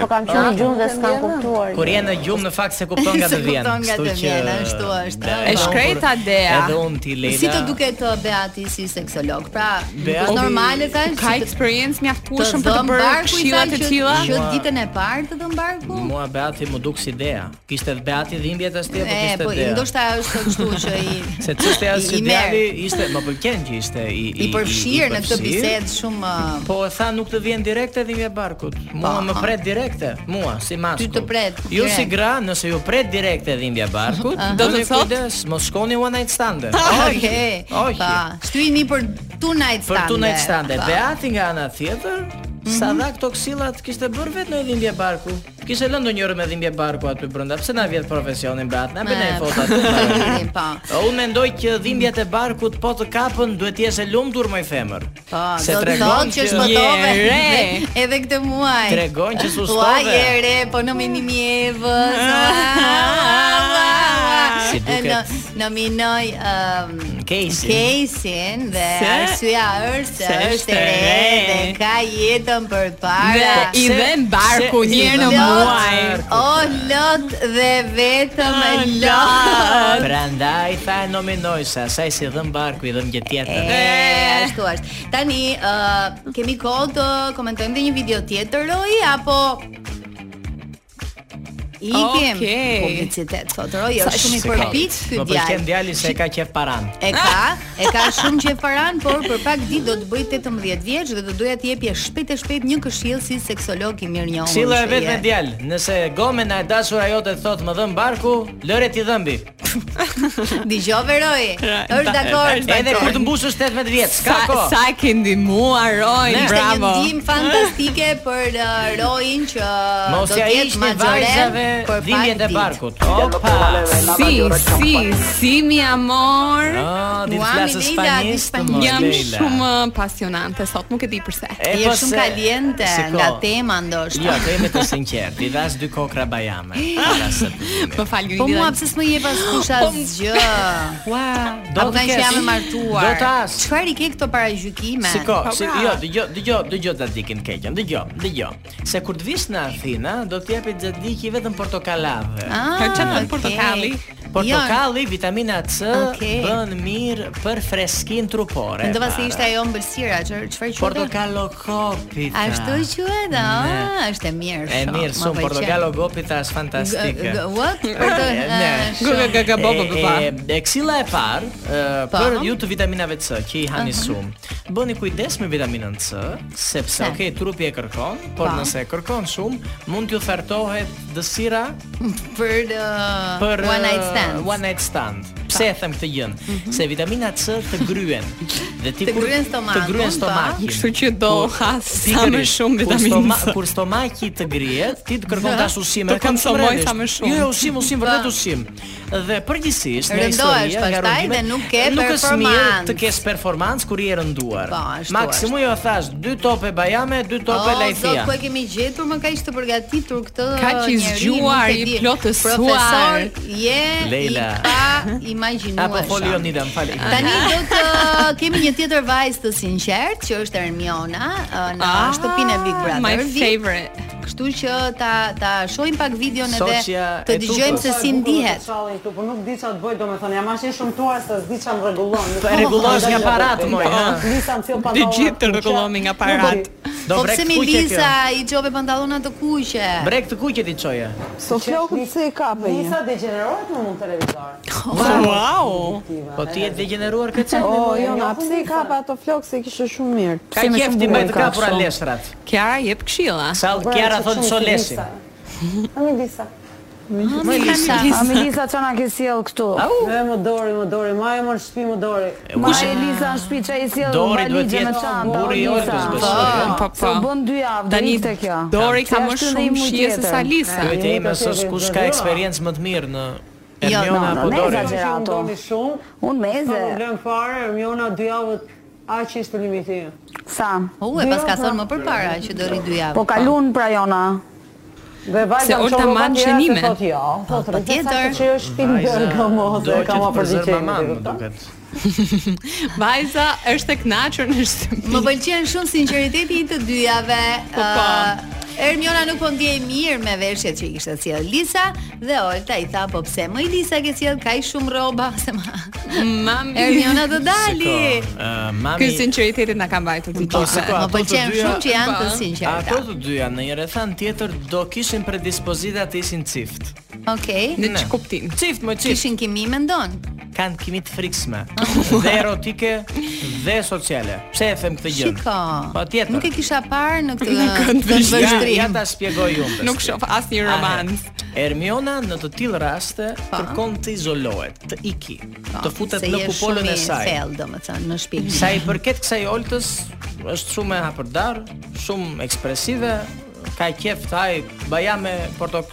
S13: Po kam qenë në gjumë dhe s'kam kuptuar.
S4: Kur je në gjumë në fakt se kupton nga
S2: Se
S4: të vjen.
S2: kupton nga
S4: kështu
S2: të
S4: që-
S2: vjen, ashtu është.
S4: Da,
S2: E shkrejta, Dea.
S4: Edhe unë ti Leila.
S2: Si të duket uh, Beati si seksolog? Pra,
S4: Beati-
S2: është normale ka
S3: Ka
S2: eksperiencë
S3: mjaftueshëm për të bërë këshilla të tilla?
S2: Që
S4: Mua-
S2: ditën e parë të dhëm barku?
S4: Mua Beati më duk si Dea. Kishte Beati dhimbjet as ti apo
S2: E,
S4: kishte
S2: po
S4: Dea?
S2: ndoshta është kështu që i
S4: Se çështja është
S2: i-
S4: që
S2: i merr.
S4: djali ishte, më pëlqen që ishte i i
S2: i përfshirë në këtë
S4: përfshirë.
S2: bisedë shumë uh,
S4: Po e tha nuk të vjen direkte dhimbja e barkut. Mua
S2: Po,
S4: më
S2: ha.
S4: pret direkte, mua si maskull.
S2: Ty të pret
S4: Ju
S2: direkt.
S4: si gra, nëse ju pret direkte dhimbja e barkut,
S2: Aha.
S4: do
S2: Do
S4: të
S2: të thotë?
S4: kujdes, mos shkoni one night stand.
S2: Okej.
S4: Oj.
S2: uh, Pa, shtyni për tonight
S4: Për
S2: stande.
S4: tonight stand.
S2: Pa.
S4: Beati nga ana tjetër,
S2: Mhm.
S4: Sa dha këto ksillat kishte bërë vetë në dhimbje barku. Kishte lënë ndonjëherë me dhimbje barku aty brenda. Pse na vjet profesionin Beat? Na bënai
S2: Me-
S4: foto aty.
S2: Pa.
S4: Unë mendoj që dhimbjet e barkut po të kapën duhet të jesh e lumtur më i femër.
S2: Po,
S4: Se
S2: do të
S4: tregon
S2: thotë që
S4: që-
S2: shpëtove
S4: Je re.
S2: edhe- edhe këtë muaj.
S4: Tregon që sustove.
S2: Ua, je re, po në minimi Evës.
S4: Si duket.
S2: Në nominoj um,
S4: Casey.
S2: Casey-n dhe
S4: Se-
S2: arsyeja është se
S4: se
S2: është e
S4: është e
S2: re
S4: re.
S2: dhe ka jetën përpara.
S3: Dhe i
S2: Se-
S3: vën barku
S2: se-
S3: një herë në
S2: Lot,
S3: muaj.
S2: O lot dhe vetëm
S4: Ah,
S2: e lot.
S4: Prandaj tha e nominoj se asaj si dhëm barku i dhëm gjë tjetër.
S2: E, ashtu është. Tani ë, kemi kohë të komentojmë dhe një video tjetër Roy apo Ikim
S3: Okej.
S2: publicitet sot Roy
S4: Sa
S2: është shumë i
S4: se ka.
S2: përpiq ky
S4: Më pëlqen
S2: djalë.
S4: djali se ka qef paran.
S2: E ka, e ka shumë që e paran, por për pak ditë do të bëj 18 vjeç dhe do doja të jepje shpejt e shpejt një këshill si seksolog i mirënjohur.
S4: Silla e
S2: që
S4: vetë me
S2: je.
S4: djalë, nëse gomen e dashura jote thot më dhëm barku, lëre ti dhëmbi.
S2: Dëgjove Roy. Është dakord.
S4: Edhe kur të mbushësh 18 vjeç, s'ka
S3: Sa-
S4: kohë.
S3: Sa e ke ndihmuar Roy,
S2: Ishte
S3: bravo.
S2: një ndim fantastike për uh, Roin që uh,
S4: Mos
S2: do
S4: ja
S2: të jetë
S4: ishte
S2: magjorem
S4: vajzave
S2: për
S4: dhimbjet e
S2: pak ditë.
S4: barkut. Opa.
S3: Si, si, si mi amor.
S4: Ah, di të
S3: Mua,
S4: flasë
S3: mi Leila, di
S4: spanjisht,
S3: spanjisht.
S4: mo,
S3: Jam
S4: Leila.
S3: shumë pasionante sot, nuk Ah, e di pse.
S4: E,
S2: Je
S4: po
S2: shumë
S4: se-
S2: kaliente
S4: se ko-
S2: nga tema ndoshta.
S4: Jo, të jemi të sinqertë, i dhash dy kokra bajame.
S3: Më fal, ju i
S2: Po
S3: lidhen-
S2: mua pse s'më jep askush asgjë? Ua,
S4: Po do
S2: do
S4: të
S2: të
S4: kesh.
S2: po jam e martuar.
S4: Do të as.
S2: Çfarë i ke këto paragjykime?
S4: Shiko,
S2: Po
S4: si,
S2: pra.
S4: jo, dëgjoj, dëgjoj, dëgjoj ta dikim keqen, dëgjoj, dëgjoj. Se kur të vish në Athina, do të japet xhatdiki vetëm portokallave.
S2: Ah, Jo, Ka çfarë thon portokalli? okay.
S4: Portokalli, vitamina C
S2: Okay.
S4: bën mirë për freskinë trupore.
S2: Mendova se
S4: fare.
S2: ishte ajo ëmbëlsira, çfarë çfarë quhet?
S4: Portokallo kopi. tha.
S2: Ashtu quhet, ah,
S4: Ne.
S2: është e mirë.
S4: E
S2: shumë,
S4: mirë,
S2: më
S4: shumë
S2: pëlqen.
S4: portokallo kopi ta është fantastike.
S2: G- g- What? Porto. ah, shumë. Po.
S4: E- e- E ksilla e parë e, për ju të vitaminave C që i hani sum. Bëni kujdes me vitaminën C, sepse
S14: Pse?
S4: okay, trupi e kërkon, por
S2: Pa.
S4: nëse e kërkon shumë, mund t'ju thartohet dësira
S2: për uh,
S4: për
S2: one night
S4: e,
S2: stand. Mhm.
S4: One night stand. Pse e them këtë gjën? Se vitamina C të gryen. Dhe ti
S2: Të po.
S4: kur-
S2: gryen
S4: Të
S2: stomakun,
S4: gryen
S2: pa.
S4: stomakin.
S3: Kështu që do
S4: Kur-
S3: has sa më
S4: pikërisht,
S3: shumë
S4: kur
S3: vitaminë
S4: stoma-
S3: C.
S4: Kur stomaki të grihet, ti të kërkon
S3: Dhe
S4: tash ushqim.
S3: të
S4: e kam shumë
S3: konsumoj sa
S4: realisht.
S3: më shumë.
S4: Jo, jo, ushqim, ushqim, vërtet ushqim. Dhe përgjithsisht nga
S2: Rëndohesh
S4: historia,
S2: pastaj
S4: nga rrugime,
S2: dhe nuk ke
S4: nuk është mirë
S2: performancë.
S4: të kesh performancë kur je rënduar.
S2: Po, ashtu
S4: Maksimumi jo thash, dy tope bajame, dy tope lajthia.
S2: zot, Oh, ku e kemi gjetur më kaq të përgatitur këtë
S3: Kaq i
S2: njeri,
S3: zgjuar,
S2: nuk e
S3: i
S2: di.
S3: plotësuar.
S2: Profesor, je
S4: Leila.
S2: i pa imagjinueshëm.
S4: Apo foli Jonida, më falë.
S2: Tani do të uh, kemi një tjetër vajzë të sinqertë që është Ermiona ë, në
S3: Ah,
S2: shtëpinë e Big Brother.
S3: my
S2: Vi-
S3: favorite.
S2: Kështu që ta ta shohim pak videon edhe
S13: Soqja
S2: të
S13: e
S2: dëgjojmë
S13: Tukës.
S2: se si ndihet.
S13: Çalli këtu, po nuk di çfarë të bëj, domethënë jam aq i shëmtuar se s'di çfarë më rregullon.
S4: Po, e rregullohesh nga
S2: po,
S4: parat, moj, ha?
S13: Lisa më sill
S4: Të
S13: pantallona.
S4: gjithë të rregullohemi nga parat. Do
S2: Po
S4: vrek
S2: pse mi
S4: kuqe kjo.
S2: Lisa i çove pantallona të kuqe?
S4: Brek të kuqe ti çoje.
S13: So flokut se e kape. Lisa degenerohet në mund televizor.
S4: Wow. Po ti je degeneruar këtë çfarë?
S11: O, jo, na pse i kap ato flokë se kishte shumë mirë.
S4: Ka qef ti bëj të kapura leshrat.
S3: Kiara jep këshilla.
S4: Sa Kiara thon solesin.
S13: Ami Lisa.
S3: Ami Lisa. Lisa.
S13: Ami Lisa që na ke sjell këtu. E më dori, më dori, ma e më në shtëpi më dori. Ma
S4: kush-
S13: e Lisa në shtëpi që i sjell
S4: Dori duhet
S13: në valixhe
S4: t'jetë
S13: me çanta.
S4: burri i
S13: o, Lisa.
S4: Oltës, besoj, jo?
S13: Po,
S4: Po,
S13: po.
S4: po.
S13: Se u bën dy javë,
S3: Tani,
S13: drejte kjo.
S3: Dori ka
S13: Se
S3: më
S13: ashtu
S3: shumë
S13: dhe i mund
S3: shije se
S13: tjetër.
S3: sa Lisa.
S13: E,
S4: Duhet të ime
S13: jemi
S4: sos
S13: të
S4: kush
S13: tjerë,
S4: ka
S13: jo.
S4: eksperiencë më të mirë në
S13: Jo, no,
S4: Ermiona
S13: no,
S4: apo
S13: ne
S4: Dori.
S13: exagerato. Doni shumë. Unë meze.
S3: Po,
S13: Nuk problem fare, Ermiona dy javët aq ishte limiti. Sa?
S2: U, e pas ka thonë më përpara që dori dy javë.
S13: Po kalun pra jona. Dhe
S3: Se
S13: vajza
S3: Olta man shënime.
S13: Thot jo,
S4: Ah,
S13: thot
S3: patjetër.
S13: tjetër që është film
S3: Vajza,
S13: bergamot,
S3: do
S13: e kam
S3: që të
S13: për
S3: përzër
S13: diçka.
S3: maman, më
S13: duket.
S3: Vajza është e kënaqur në shtëpi.
S2: Më pëlqen shumë sinqeriteti i të dyjave.
S3: Po, po.
S2: Ë, Ermiona nuk po ndjej mirë me veshjet që i kishte sjell Lisa dhe Olta i tha po pse më i Lisa ke sjell kaq shumë rroba se ma.
S3: Mami.
S2: Ermiona do dali.
S4: Ë,
S3: Ky
S4: mami
S3: sinqeritetin na ka mbajtur ti
S4: Po, se
S3: gjithë.
S4: po, ato të dyja-
S3: Po.
S2: të sinqerta.
S4: Ato po të dyja në një rrethant tjetër do kishin predispozita të ishin cift.
S2: Okej.
S4: Në që kuptim? Cift, më cift.
S2: Kishin kimi mendon.
S4: Kanë kimi të frikshme,
S2: Ah.
S4: dhe erotike dhe sociale. Pse e them këtë gjë?
S2: Shiko.
S4: Patjetër.
S2: Nuk e kisha parë në këtë
S4: Po, Në
S2: këtë
S4: Ja, ja
S2: vështrim.
S4: ta shpjegoj unë.
S2: Nuk shoh asnjë romans.
S4: Ermiona në të tillë raste kërkon të izolohet, të iki, të futet në kupolën e saj.
S2: Se je Po, shumë i thellë, domethënë, në shtëpi.
S4: Sa i përket kësaj oltës, është shumë e hapërdar, shumë ekspresive, ka qef të haj baja me portok...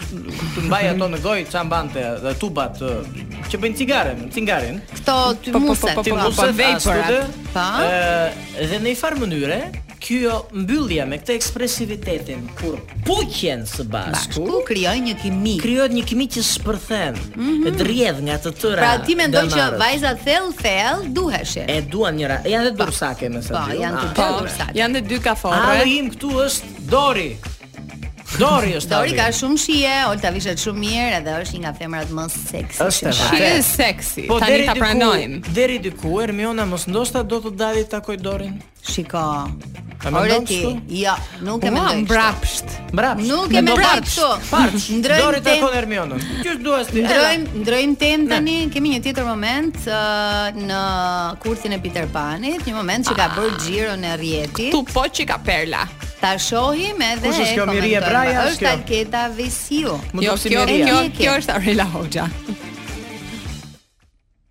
S4: të mbaj ato në gojë, ça mbante dhe tubat ë, që bëjnë cigaren, cigarin.
S2: Këto ty muset,
S4: Ty
S2: po, po,
S4: muset,
S2: vaporat.
S4: astude,
S2: Pa.
S4: ë, Dhe në i farë mënyre, kjo mbyllja me këtë ekspresivitetin kur puqen së bashku,
S2: Ku krijoj një kimi?
S4: Krijohet një kimi që shpërthen,
S2: Mhm.
S4: e rrjedh nga të tëra.
S2: Pra ti mendoj që
S4: dëmarët.
S2: vajza thell thell duheshin.
S4: E duan njëra, janë dhe dursake me sa
S2: Po,
S4: gjë.
S2: janë të
S4: Ah.
S2: dy dursake.
S3: Janë dhe dy kaforre.
S4: Ali im këtu është Dori. Dori është
S2: Dori
S4: Ali.
S2: ka shumë shije, Olta vishet shumë mirë edhe është një nga femrat më seksi.
S4: Është e
S2: që
S4: vërtetë.
S2: shaj.
S3: seksi.
S4: Po
S3: Tani
S4: deri
S3: ta
S4: diku-
S3: pranojmë.
S4: Deri diku Ermiona mos ndoshta do të dalë të takoj Dorin.
S2: Shiko.
S4: E
S2: Ore
S4: mendon
S2: ti,
S4: kështu?
S2: jo, nuk e
S4: Ua,
S2: mendoj.
S3: mbrapsht.
S4: Mbrapsht.
S2: Nuk e
S4: Mendon
S2: mendoj
S4: parç,
S2: kështu.
S4: parç. Dori
S2: tem-
S4: takon Ermionën. Ky është duas ti.
S2: Ndrojmë, ndrojmë temë tani, kemi një tjetër moment ë, në kursin e Peter Panit, një moment që ka bërë xhiron e rrjetit. Tu
S3: po që ka perla.
S2: Ta shohim edhe
S3: Kush është
S2: e
S3: kjo, Mirija
S2: komentojmë.
S3: Braja, është
S2: Është
S3: kjo?
S2: Alketa Vesiu.
S3: Jo, kjo, kjo, kjo është Arela Hoxha.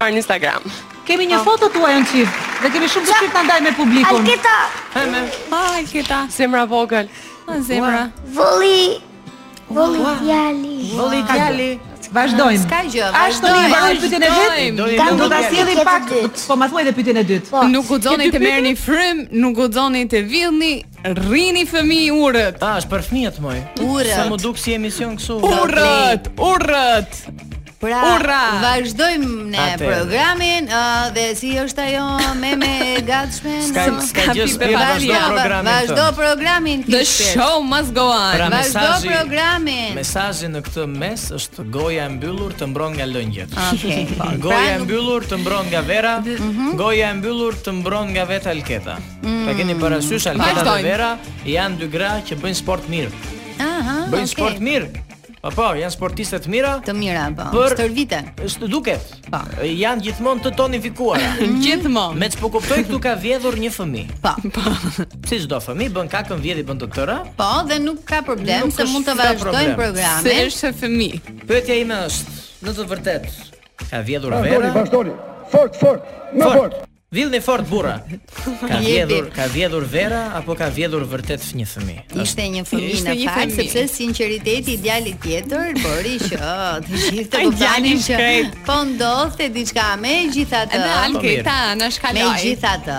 S15: Në Instagram.
S10: Kemi një foto tuaj në çift dhe kemi shumë të shpirt ta ndaj me publikun.
S15: Alketa.
S4: Heme.
S3: Ah, Alketa.
S15: Zemra vogël.
S3: Ah, zemra.
S15: Voli.
S10: Voli
S15: djali.
S10: Voli djali.
S2: Vazhdojmë.
S10: Vazhdojmë.
S2: S'ka gjë,
S10: Ashtu i
S2: vazhdojmë.
S10: mbaroj pyetjen e dytë.
S3: Vazhdojmë.
S10: Ka do ta
S3: Vazhdojmë.
S10: sjellim pak, po ma thuaj edhe pyetjen e dytë.
S3: Nuk guxoni të merrni frym, nuk guxoni të villni, rrini fëmijë urët.
S4: Ah, është për fëmijët moj.
S2: Urët.
S4: Sa më duk si emision kështu.
S3: Urët, urët.
S2: Pra,
S3: Ura!
S2: vazhdojmë në
S4: Atëherë.
S2: programin ë, dhe si është ajo meme e gatshme?
S4: S'ka-
S2: në-
S4: s'ka gjë s'pi, vazhdo
S2: Vazhdo,
S4: programin
S2: Vazhdo
S4: tënd.
S2: programin.
S3: The
S2: Kishpir.
S3: show must go on.
S4: Pra,
S2: Vazhdo
S4: mesazhi-
S2: programin.
S4: Mesazhi në këtë mes është goja e mbyllur të mbron nga lëngjet.
S2: Okej, po.
S4: Goja
S2: Pra,
S4: e
S2: nuk-
S4: mbyllur të mbron nga vera, goja e mbyllur të mbron nga vetë Alketa. Ta keni parasysh Alketa dhe
S2: Vazhdojmë.
S4: Vera janë dy gra që bëjnë sport mirë.
S2: Aha,
S4: Bëjnë
S2: okej.
S4: sport mirë. Po po, janë sportiste të mira.
S2: Të mira, po.
S4: Për-
S2: Stërviten.
S4: Është duket. Janë gjithmonë të tonifikuara.
S3: Mm-hmm. gjithmonë.
S4: Me ç'po kuptoj këtu ka vjedhur një fëmijë.
S2: Po.
S4: Si çdo fëmijë bën kakën vjedhi bën të tëra.
S2: Po, dhe nuk ka problem
S4: Nuk
S2: se
S4: është
S2: mund të
S4: ka
S2: vazhdojmë
S4: problem.
S2: programin.
S4: Se është
S3: fëmijë.
S4: Pyetja ime është, në të vërtetë, ka vjedhur
S5: Vazhdoni,
S4: Vera?
S5: vazhdoni. Fort, fort, më fort.
S4: Villni fort burra.
S2: Jepi.
S4: Ka vjedhur, ka vjedhur Vera apo ka vjedhur vërtet një fëmijë?
S2: Ishte një fëmijë
S4: Ishte
S2: në
S4: një
S2: fakt,
S4: fëmijë.
S2: sepse sinqeriteti i djalit tjetër bëri që të gjithë të
S3: Ai djali
S2: kuptonin që
S3: shkrejt.
S2: po ndodhte diçka me gjithatë.
S3: Edhe Alketa na shkaloi.
S2: Me gjithatë,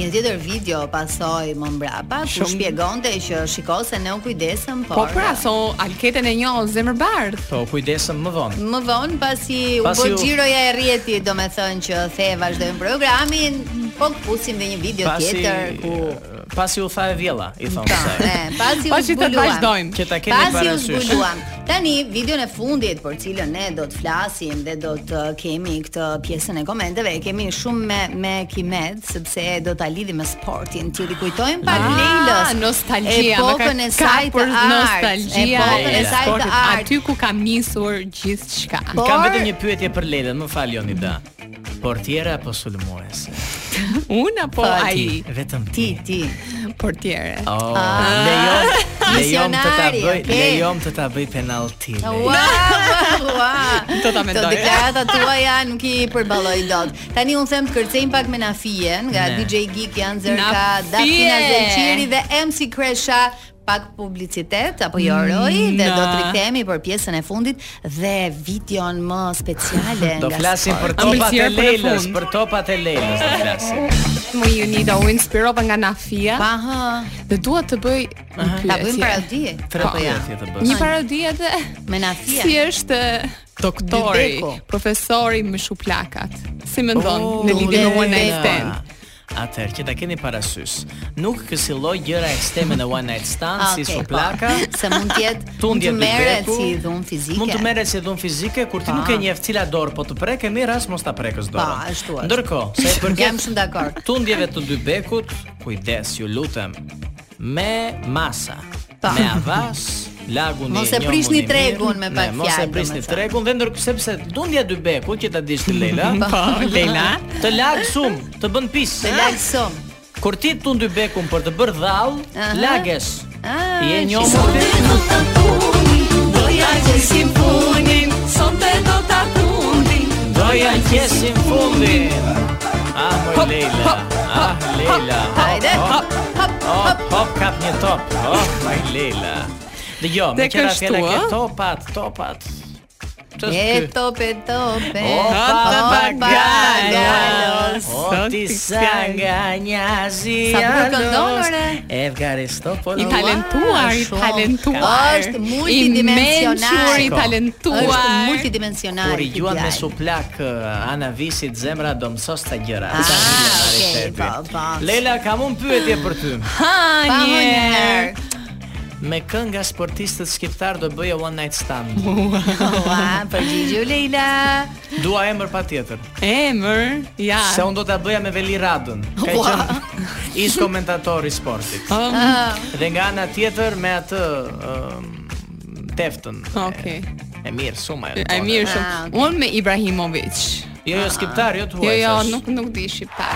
S2: një tjetër video pasoi më mbrapa ku
S3: Shumë.
S2: shpjegonte që shiko se ne u kujdesëm, por
S3: Po pra, so Alketen e njohë zemër bardh.
S4: Po kujdesem më vonë.
S2: Më vonë pasi u
S4: Pasi
S2: bë
S4: u-
S2: xhiroja e rrjetit, domethënë që the vazhdojmë programin, po kpusim dhe një video tjetër ku
S4: eh, pasi u tha e vjella, i thon se.
S2: E, pasi u
S3: Pasi të
S2: zbuluam.
S3: vazhdojmë.
S4: Që ta keni
S2: Pasi u
S4: parasysh.
S2: zbuluam. Tani videon e fundit për cilën ne do të flasim dhe do të kemi këtë pjesën e komenteve, e kemi shumë me me Kimet sepse do ta lidhim me sportin. Ti rikujtojmë pak
S3: Ah,
S2: Leilës.
S3: nostalgjia, më ka-
S2: Epokën e
S3: ka
S2: saj të
S3: për
S2: art.
S3: nostalgjia
S2: Epokën e
S3: e
S2: saj të Po.
S3: sportit.
S2: art.
S3: Aty ku kam nisur gjithçka.
S4: Kam vetëm një pyetje për Lelen, më fal Jonida. Portiera apo sulmuese?
S3: Unë apo
S4: Po,
S3: ai?
S4: ti, vetëm
S2: ti. Ti,
S3: Portiere.
S4: Oh,
S3: Ah.
S4: lejom, lejom të ta
S2: Misionari,
S4: bëj,
S2: okay.
S4: lejom të ta bëj penallti.
S2: Ua, ua.
S3: Do ta
S2: Të
S3: mendoj.
S2: deklaratat tuaja nuk i përballoj dot. Tani un them të kërcejmë pak me Nafijen, nga
S3: Ne.
S2: DJ Geek janë zërka,
S3: Nafie!
S2: Dafina Zelqiri dhe MC Kresha pak publicitet apo jo Roj
S4: Mm,
S2: dhe do të rikthehemi për pjesën e fundit dhe videon më speciale
S4: Do
S2: nga
S4: flasim për
S2: Sport.
S4: topat e Lelës, për topat e Lelës do flasim.
S3: Më ju një da u inspirova nga Nafia Pa
S2: ha
S3: Dhe dua të bëj një
S2: Ta
S3: pyetje
S2: bëjmë paradi.
S4: Tre
S3: Po,
S4: pyetje të bësh.
S3: Një paradi edhe
S2: Me Nafia.
S3: Si është doktori,
S2: Dybeku.
S3: profesori me shuplakat Si më ndonë
S4: Oh,
S3: në lidhje me
S4: Lena.
S3: One Night Stand
S4: Atëherë që ta keni parasysh, nuk kësilloj gjëra ekstreme në one night stand
S2: Okej,
S4: si
S3: Ah,
S2: po.
S4: suplaka,
S2: se mund të jetë mund
S4: tundje
S2: të merret
S4: dybeku,
S2: si dhun fizike.
S4: Mund të merret si dhun fizike kur ti
S2: Pa.
S4: nuk e njeh cila dorë, po të prek e mirë as mos ta prekësh dorën.
S2: Pa, ashtu është.
S4: Ndërkohë, sa i përket
S2: Jam shumë dakord.
S4: tundjeve të dy bekut, kujdes, ju lutem, me masa,
S2: Pa.
S4: me avas, lagun
S2: Mos
S4: i
S2: e
S4: njohur
S2: prishni
S4: i mirë.
S2: tregun me
S4: Ne,
S2: pak
S4: Mos e
S2: fjalë,
S4: prisni
S2: domethënë.
S4: tregun dhe ndër sepse dundja dy bekut që ta dish ti Leila.
S2: Po, Leila.
S4: Të lag sum, të bën pis.
S2: Të lag sum.
S4: Kur ti tund dy bekun për të bërë dhall,
S2: Aha.
S4: lagesh.
S2: Ah,
S4: Je
S2: që
S4: njohur
S2: sot
S4: ti?
S2: e nuk ta puni, doja gjesim punin, sonte do ta tundi.
S4: Doja qesim fundin. Ah, moj Leila. Ah, Leila.
S2: Hajde.
S4: Hop, hop, hop, kap një top. Oh, moj Leila. Dhe jo, me
S3: Te
S4: qëra
S3: kështu,
S4: fjera ke
S3: ë?
S4: topat, topat. Ç'është
S2: E
S4: ky?
S2: tope tope.
S4: Opa,
S2: galos.
S4: galos. O ti sa nga njazi
S2: Sa bukur këndon, ore.
S4: Evgaristopolo
S3: I talentuar, i
S2: Shumë.
S3: talentuar
S2: Është multidimensional.
S3: I mençur, i talentuar
S2: Është multidimensional.
S4: ah, Kur i
S2: ky
S4: gjuan me
S2: djalë.
S4: suplak uh, Ana Visit zemra do mësos ta gjëra.
S2: Ah,
S4: Sa një realitet. Lela kam un pyetje për ty.
S3: Ha,
S2: po, Pa më
S3: një
S2: njëherë.
S4: Me kënë nga sportistët shqiptar do bëja one night stand.
S2: Ua, përgjigju Leila.
S4: Dua emër patjetër.
S3: Emër, ja
S4: Se unë do ta bëja me Veli Radën. Ka
S3: Ah. Ua.
S4: qenë ish komentator i sportit.
S3: Um.
S2: Ah.
S4: Dhe nga ana tjetër me atë um, teftën.
S3: Okej.
S4: E mirë shumë ajo.
S3: E mirë shumë.
S2: ah,
S3: Unë me Ibrahimovic.
S4: Jo, jo, skiptar, jo t'huaj,
S3: Jo, jo,
S4: thash.
S3: nuk nuk di shqiptar.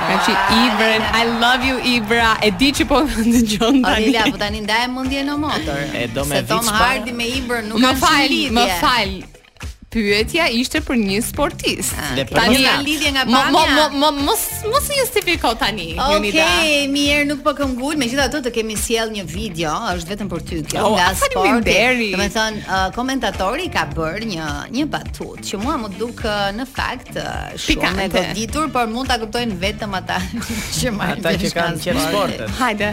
S3: Ka që Ibren, I love you Ibra. E di që po dëgjon tani.
S2: Leila, po tani ndaje mundje në motor.
S4: E do me
S2: Se Tom
S4: vic pa.
S2: Hardy me Ibra nuk
S3: Më
S2: po kanë shumë
S3: fal,
S2: lidhje.
S3: më fal. Pyetja ishte për një sportist.
S4: Dhe për një
S2: ka Ah, po lidhje nga
S3: mo- mo-
S2: pamja?
S3: mo- mo- Mos mos i justifiko tani.
S2: Okej,
S3: Jonida.
S2: mirë, nuk po këm gul, megjithatë të kemi sjell një video, është vetëm për ty kjo,
S3: Oh,
S2: nga sporti.
S3: faleminderit.
S2: Domethënë, uh, komentatori ka bërë një një batutë që mua më duk uh, në fakt uh, shumë e
S3: Pikante.
S2: goditur, por mund ta kuptojnë vetëm ata që marrin
S4: Ata që
S2: vesh
S4: kanë
S2: nga
S4: qenë
S2: sporti.
S4: sportet.
S3: Hajde.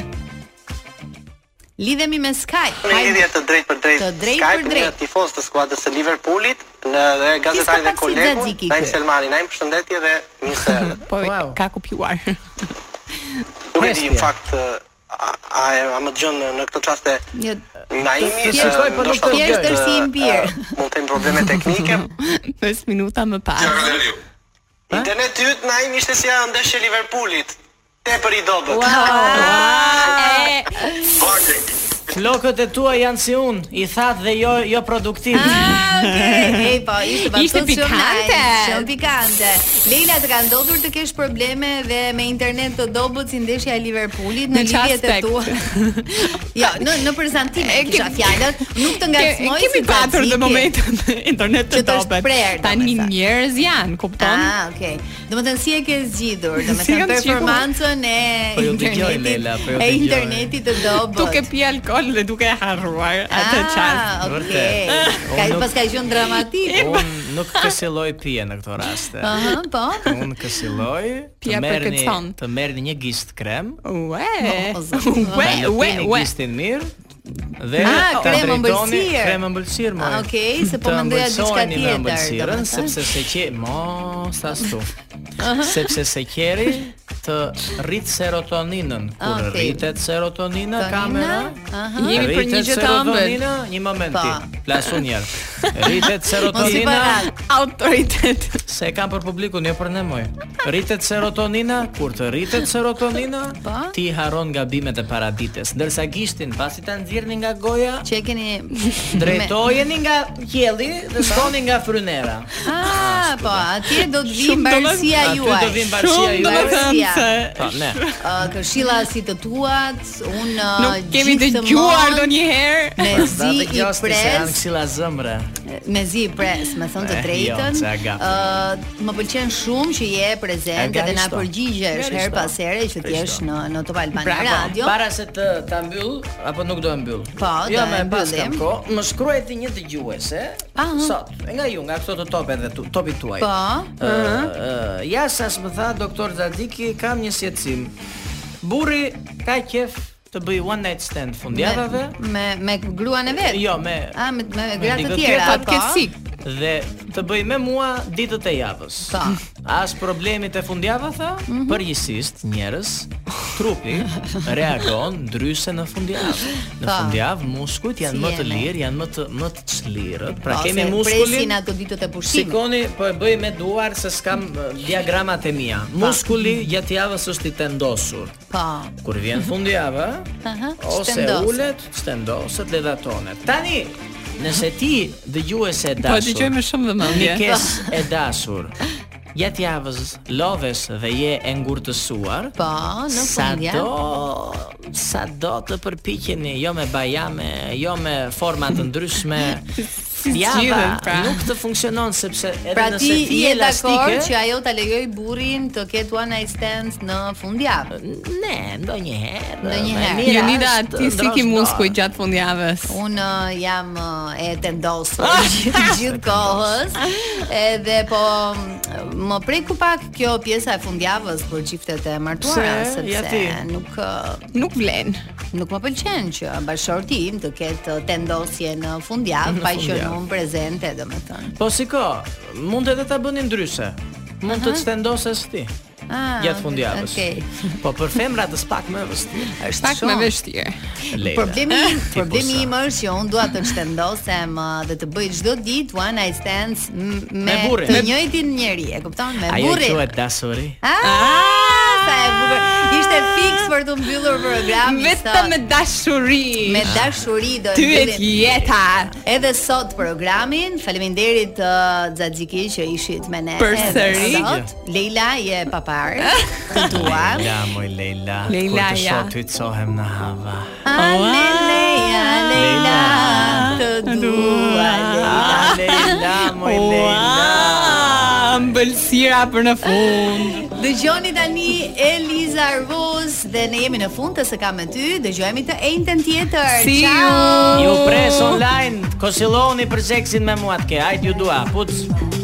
S2: Lidhemi me Skype.
S16: Në lidhje të drejtë për drejtë
S2: Të drejtë për
S16: Skype
S2: drejtë.
S16: në tifoz të skuadrës së Liverpoolit në dhe
S2: Kishte
S16: gazetarin e
S2: pak si
S16: kolegun
S2: Xhaxhiki
S16: Naim
S2: ky.
S16: Selmani, Naim përshëndetje dhe mirë se erdhe.
S3: Po ka kupjuar.
S16: Unë e di në fakt ë, a, a, a më dëgjon në- në këtë çaste
S2: Një
S16: Naimi
S3: Të shikoj, po nuk
S16: ndoshta
S3: të
S16: mund
S3: thjesht
S16: të-
S3: është si i mbir.
S16: ë, mund të kenë probleme teknike.
S3: 5 minuta më pas.
S16: Interneti yt Naim ishte si ajo ndeshje e Liverpoolit. Tepër i dobët.
S2: Ah,
S4: Flokët e tua janë si unë, i thatë dhe jo jo produktiv.
S3: Ah.
S2: Okej, po, ishte batutë
S3: Ishte
S2: shumë
S3: pikante.
S2: nice, Shumë pikante. Leila të ka ndodhur të kesh probleme dhe me internet të dobët si ndeshja e Liverpoolit në
S3: Në çfarë
S2: lidhjet e
S3: aspekt?
S2: tua. jo, në në përzantim e kisha fjalën, nuk të ngacmoj
S3: Kemi patur në momentin internet të
S2: Që të
S3: topet.
S2: shprerë,
S3: Tani njerëz janë, kupton?
S2: Ah, okay. Domethënë si e ke zgjidur,
S3: Si
S2: domethënë
S3: kam zgjidur?
S2: performancën e
S4: Po ju dëgjoj,
S2: internetit,
S4: Leila, po ju
S2: e
S4: dëgjoj.
S2: internetit të dobët.
S3: Duke pi alkool dhe duke harruar atë
S2: Ah, okay.
S3: çast.
S4: Vërtet.
S2: Ka
S4: Unë nuk-
S2: pas ka qenë dramatik.
S4: Unë nuk kësilloj pije në këto raste.
S2: Aha, po.
S4: Unë kësilloj të
S3: Ah. Pija
S4: merrni
S3: përkëtson.
S4: të merrni një gisht krem.
S3: Ue.
S2: O, zot.
S3: Ue,
S4: ta
S3: ue,
S4: lëpini
S3: ue.
S4: gishtin mirë dhe
S2: Ah,
S4: ta
S2: krem
S4: drejtoni-
S2: ëmbëlsirë.
S4: Krem ëmbëlsirë, më.
S2: Ah, okej, se po mendoja diçka tjetër,
S4: ëmbëlsirën
S2: domethënë.
S4: sepse se qe mos ashtu. sepse se qeri të rrit serotoninën. Kur
S2: Okej.
S4: rritet serotonina, kamera.
S2: Aha.
S3: Jemi për një
S4: Rritet
S3: gjë të ëmbël.
S4: serotonina, Një moment ti.
S2: Po.
S4: Plasun njerë. Rritet
S2: Mos i
S4: serotonina.
S2: parat.
S3: Autoritet.
S4: Se e kam për publikun, jo për ne moj. Rritet serotonina, kur të rritet serotonina,
S2: Pa?
S4: ti haron gabimet e paradites. Ndërsa gishtin, pasi ta nxjerrni nga goja,
S2: Që e keni
S4: drejtojeni nga qielli dhe shkoni nga frynera.
S2: Ah, po, atje do të vi
S3: Shumë
S2: mbarësia
S4: domethënë-
S2: juaj.
S4: Aty do vi mbarësia
S3: Shumë
S4: juaj.
S3: domethënë se
S4: Po, ne.
S2: Ë, këshilla si të tuat, unë ah,
S3: Oh, nuk kemi dëgjuar ndonjëherë.
S2: Me
S4: Për
S3: Po,
S2: zi
S4: zati
S2: i
S4: gjosti se janë
S2: pres
S4: këshilla zëmre.
S2: e, me zi i pres, me thënë të
S17: Eh,
S2: drejtën.
S17: jo, ça gafe.
S2: Ë, më pëlqen shumë që je prezente dhe na
S17: Realisto.
S2: përgjigjesh her
S17: Realisto.
S2: pas here që ti jesh në në Top Albania
S4: Bravo.
S2: Radio.
S4: Para se të ta mbyll apo nuk do e mbyll.
S2: Po,
S4: jo,
S2: do
S4: më
S2: e
S4: pas kam
S2: mbyllim.
S4: kohë. Më shkruajti një dëgjuese
S2: Aha.
S4: sot, nga ju, nga këto të tope dhe tu, topi tuaj.
S2: Po.
S4: Ë, ë, ja sa s'më tha doktor Zadiki, kam një shqetësim. Burri ka qef të bëj one night stand fundjavave.
S2: me me gruan e vet.
S4: Jo, me-
S2: A me me
S4: me
S2: gratë të
S4: dikë
S2: tjera.
S4: tjetër.
S2: po.
S4: Dhe të bëj me mua ditët e javës.
S2: Po.
S4: As problemit e fundjavës tha,
S2: Mhm.
S4: përgjithsisht njerëz trupi reagon ndryshe në fundjavë. Në
S2: Po.
S4: fundjavë muskujt janë
S2: Si
S4: më të
S2: jemi.
S4: lirë, janë më të më të çlirët. Pra
S2: Po,
S4: kemi
S2: se Presin
S4: muskulin.
S2: ato ditët e pushimit.
S4: Sikoni po e bëj me duar se s'kam eh, diagramat e mia. Muskuli gjatë javës është i tendosur.
S2: Po.
S4: Kur vjen fundjava,
S2: Aha.
S4: ose
S2: shtendos.
S4: ulet, shtendoset dhe datonet. Tani, nëse ti dëgjuese e
S3: Po,
S4: dashur.
S3: dëgjoj me shumë vëmendje.
S4: Mikes e dashur. Gjatë javës lodhesh dhe je e ngurtësuar.
S2: Po, në fundjavë.
S4: Sa do, sa do të përpiqeni, jo me bajame, jo me forma të ndryshme. Java
S2: zgjidhen, pra.
S4: nuk të funksionon sepse edhe
S2: Pra
S4: nëse
S2: ti
S4: ti
S2: je dakord
S4: elastike,
S2: që ajo ta lejoj burrin të ketë one night stands në fundjavë?
S4: Ne, ndonjëherë.
S2: Ndonjëherë.
S3: Jonida, ti si ki muskuj gjatë fundjavës?
S2: Unë uh, jam uh, e tendosur gjithë gjithë kohës. Edhe po m- më preku pak kjo pjesa e fundjavës për çiftet e martuara
S3: Pse?
S2: sepse
S3: Ja ti.
S2: nuk uh,
S3: Nuk vlen.
S2: nuk më pëlqen që bashkëshorti im të ketë tendosje në fundjavë
S4: Në
S2: pa qenë
S4: fundjavë.
S2: unë prezente domethënë.
S4: Po siko, mund edhe ta bëni ndryshe. Mund të
S2: Aha.
S4: të stendoses ti.
S2: Ah,
S4: Gjatë fundjavës.
S2: Okej.
S4: Po për femrat është pak më vështirë.
S2: Është Pak shumë. më
S3: vështirë.
S2: Problemi im,
S4: po
S2: problemi im është që unë dua të shtendosem ë, dhe të bëj çdo ditë one night stands m- me,
S4: Me burrin.
S2: të
S4: Me-
S2: njëjtin njeri, e kupton? Me
S4: Ajo
S2: burrin.
S4: quhet dashuri.
S2: Ah, sa e bukur. Ishte fiks për të mbyllur programin
S3: Vetëm
S2: sot.
S3: me dashuri.
S4: Ah.
S2: Me dashuri do e
S3: Ty e
S2: mbyllim
S3: jeta.
S2: Edhe sot programin. Faleminderit uh, Xhaxhiki që ishit me ne. edhe
S3: Përsëri.
S2: sot. Leila je papar.
S3: Ah.
S2: Të duam.
S4: Leila, moj Leila.
S2: Leila,
S4: kur
S2: ja.
S4: të shoh ty të cohem në hava.
S2: Aleleja, Leila. Të dua, Leila.
S4: Leila, moj
S3: Leila. Mbëlsira për në fund.
S2: Dëgjoni tani Eliza Arvoz dhe ne jemi në fund të së kam me ty. Dëgjohemi të njëjtën tjetër.
S4: See
S2: Ciao.
S4: Ju pres online, kosilloni për seksin me mua atje. Hajde ju dua. Puc.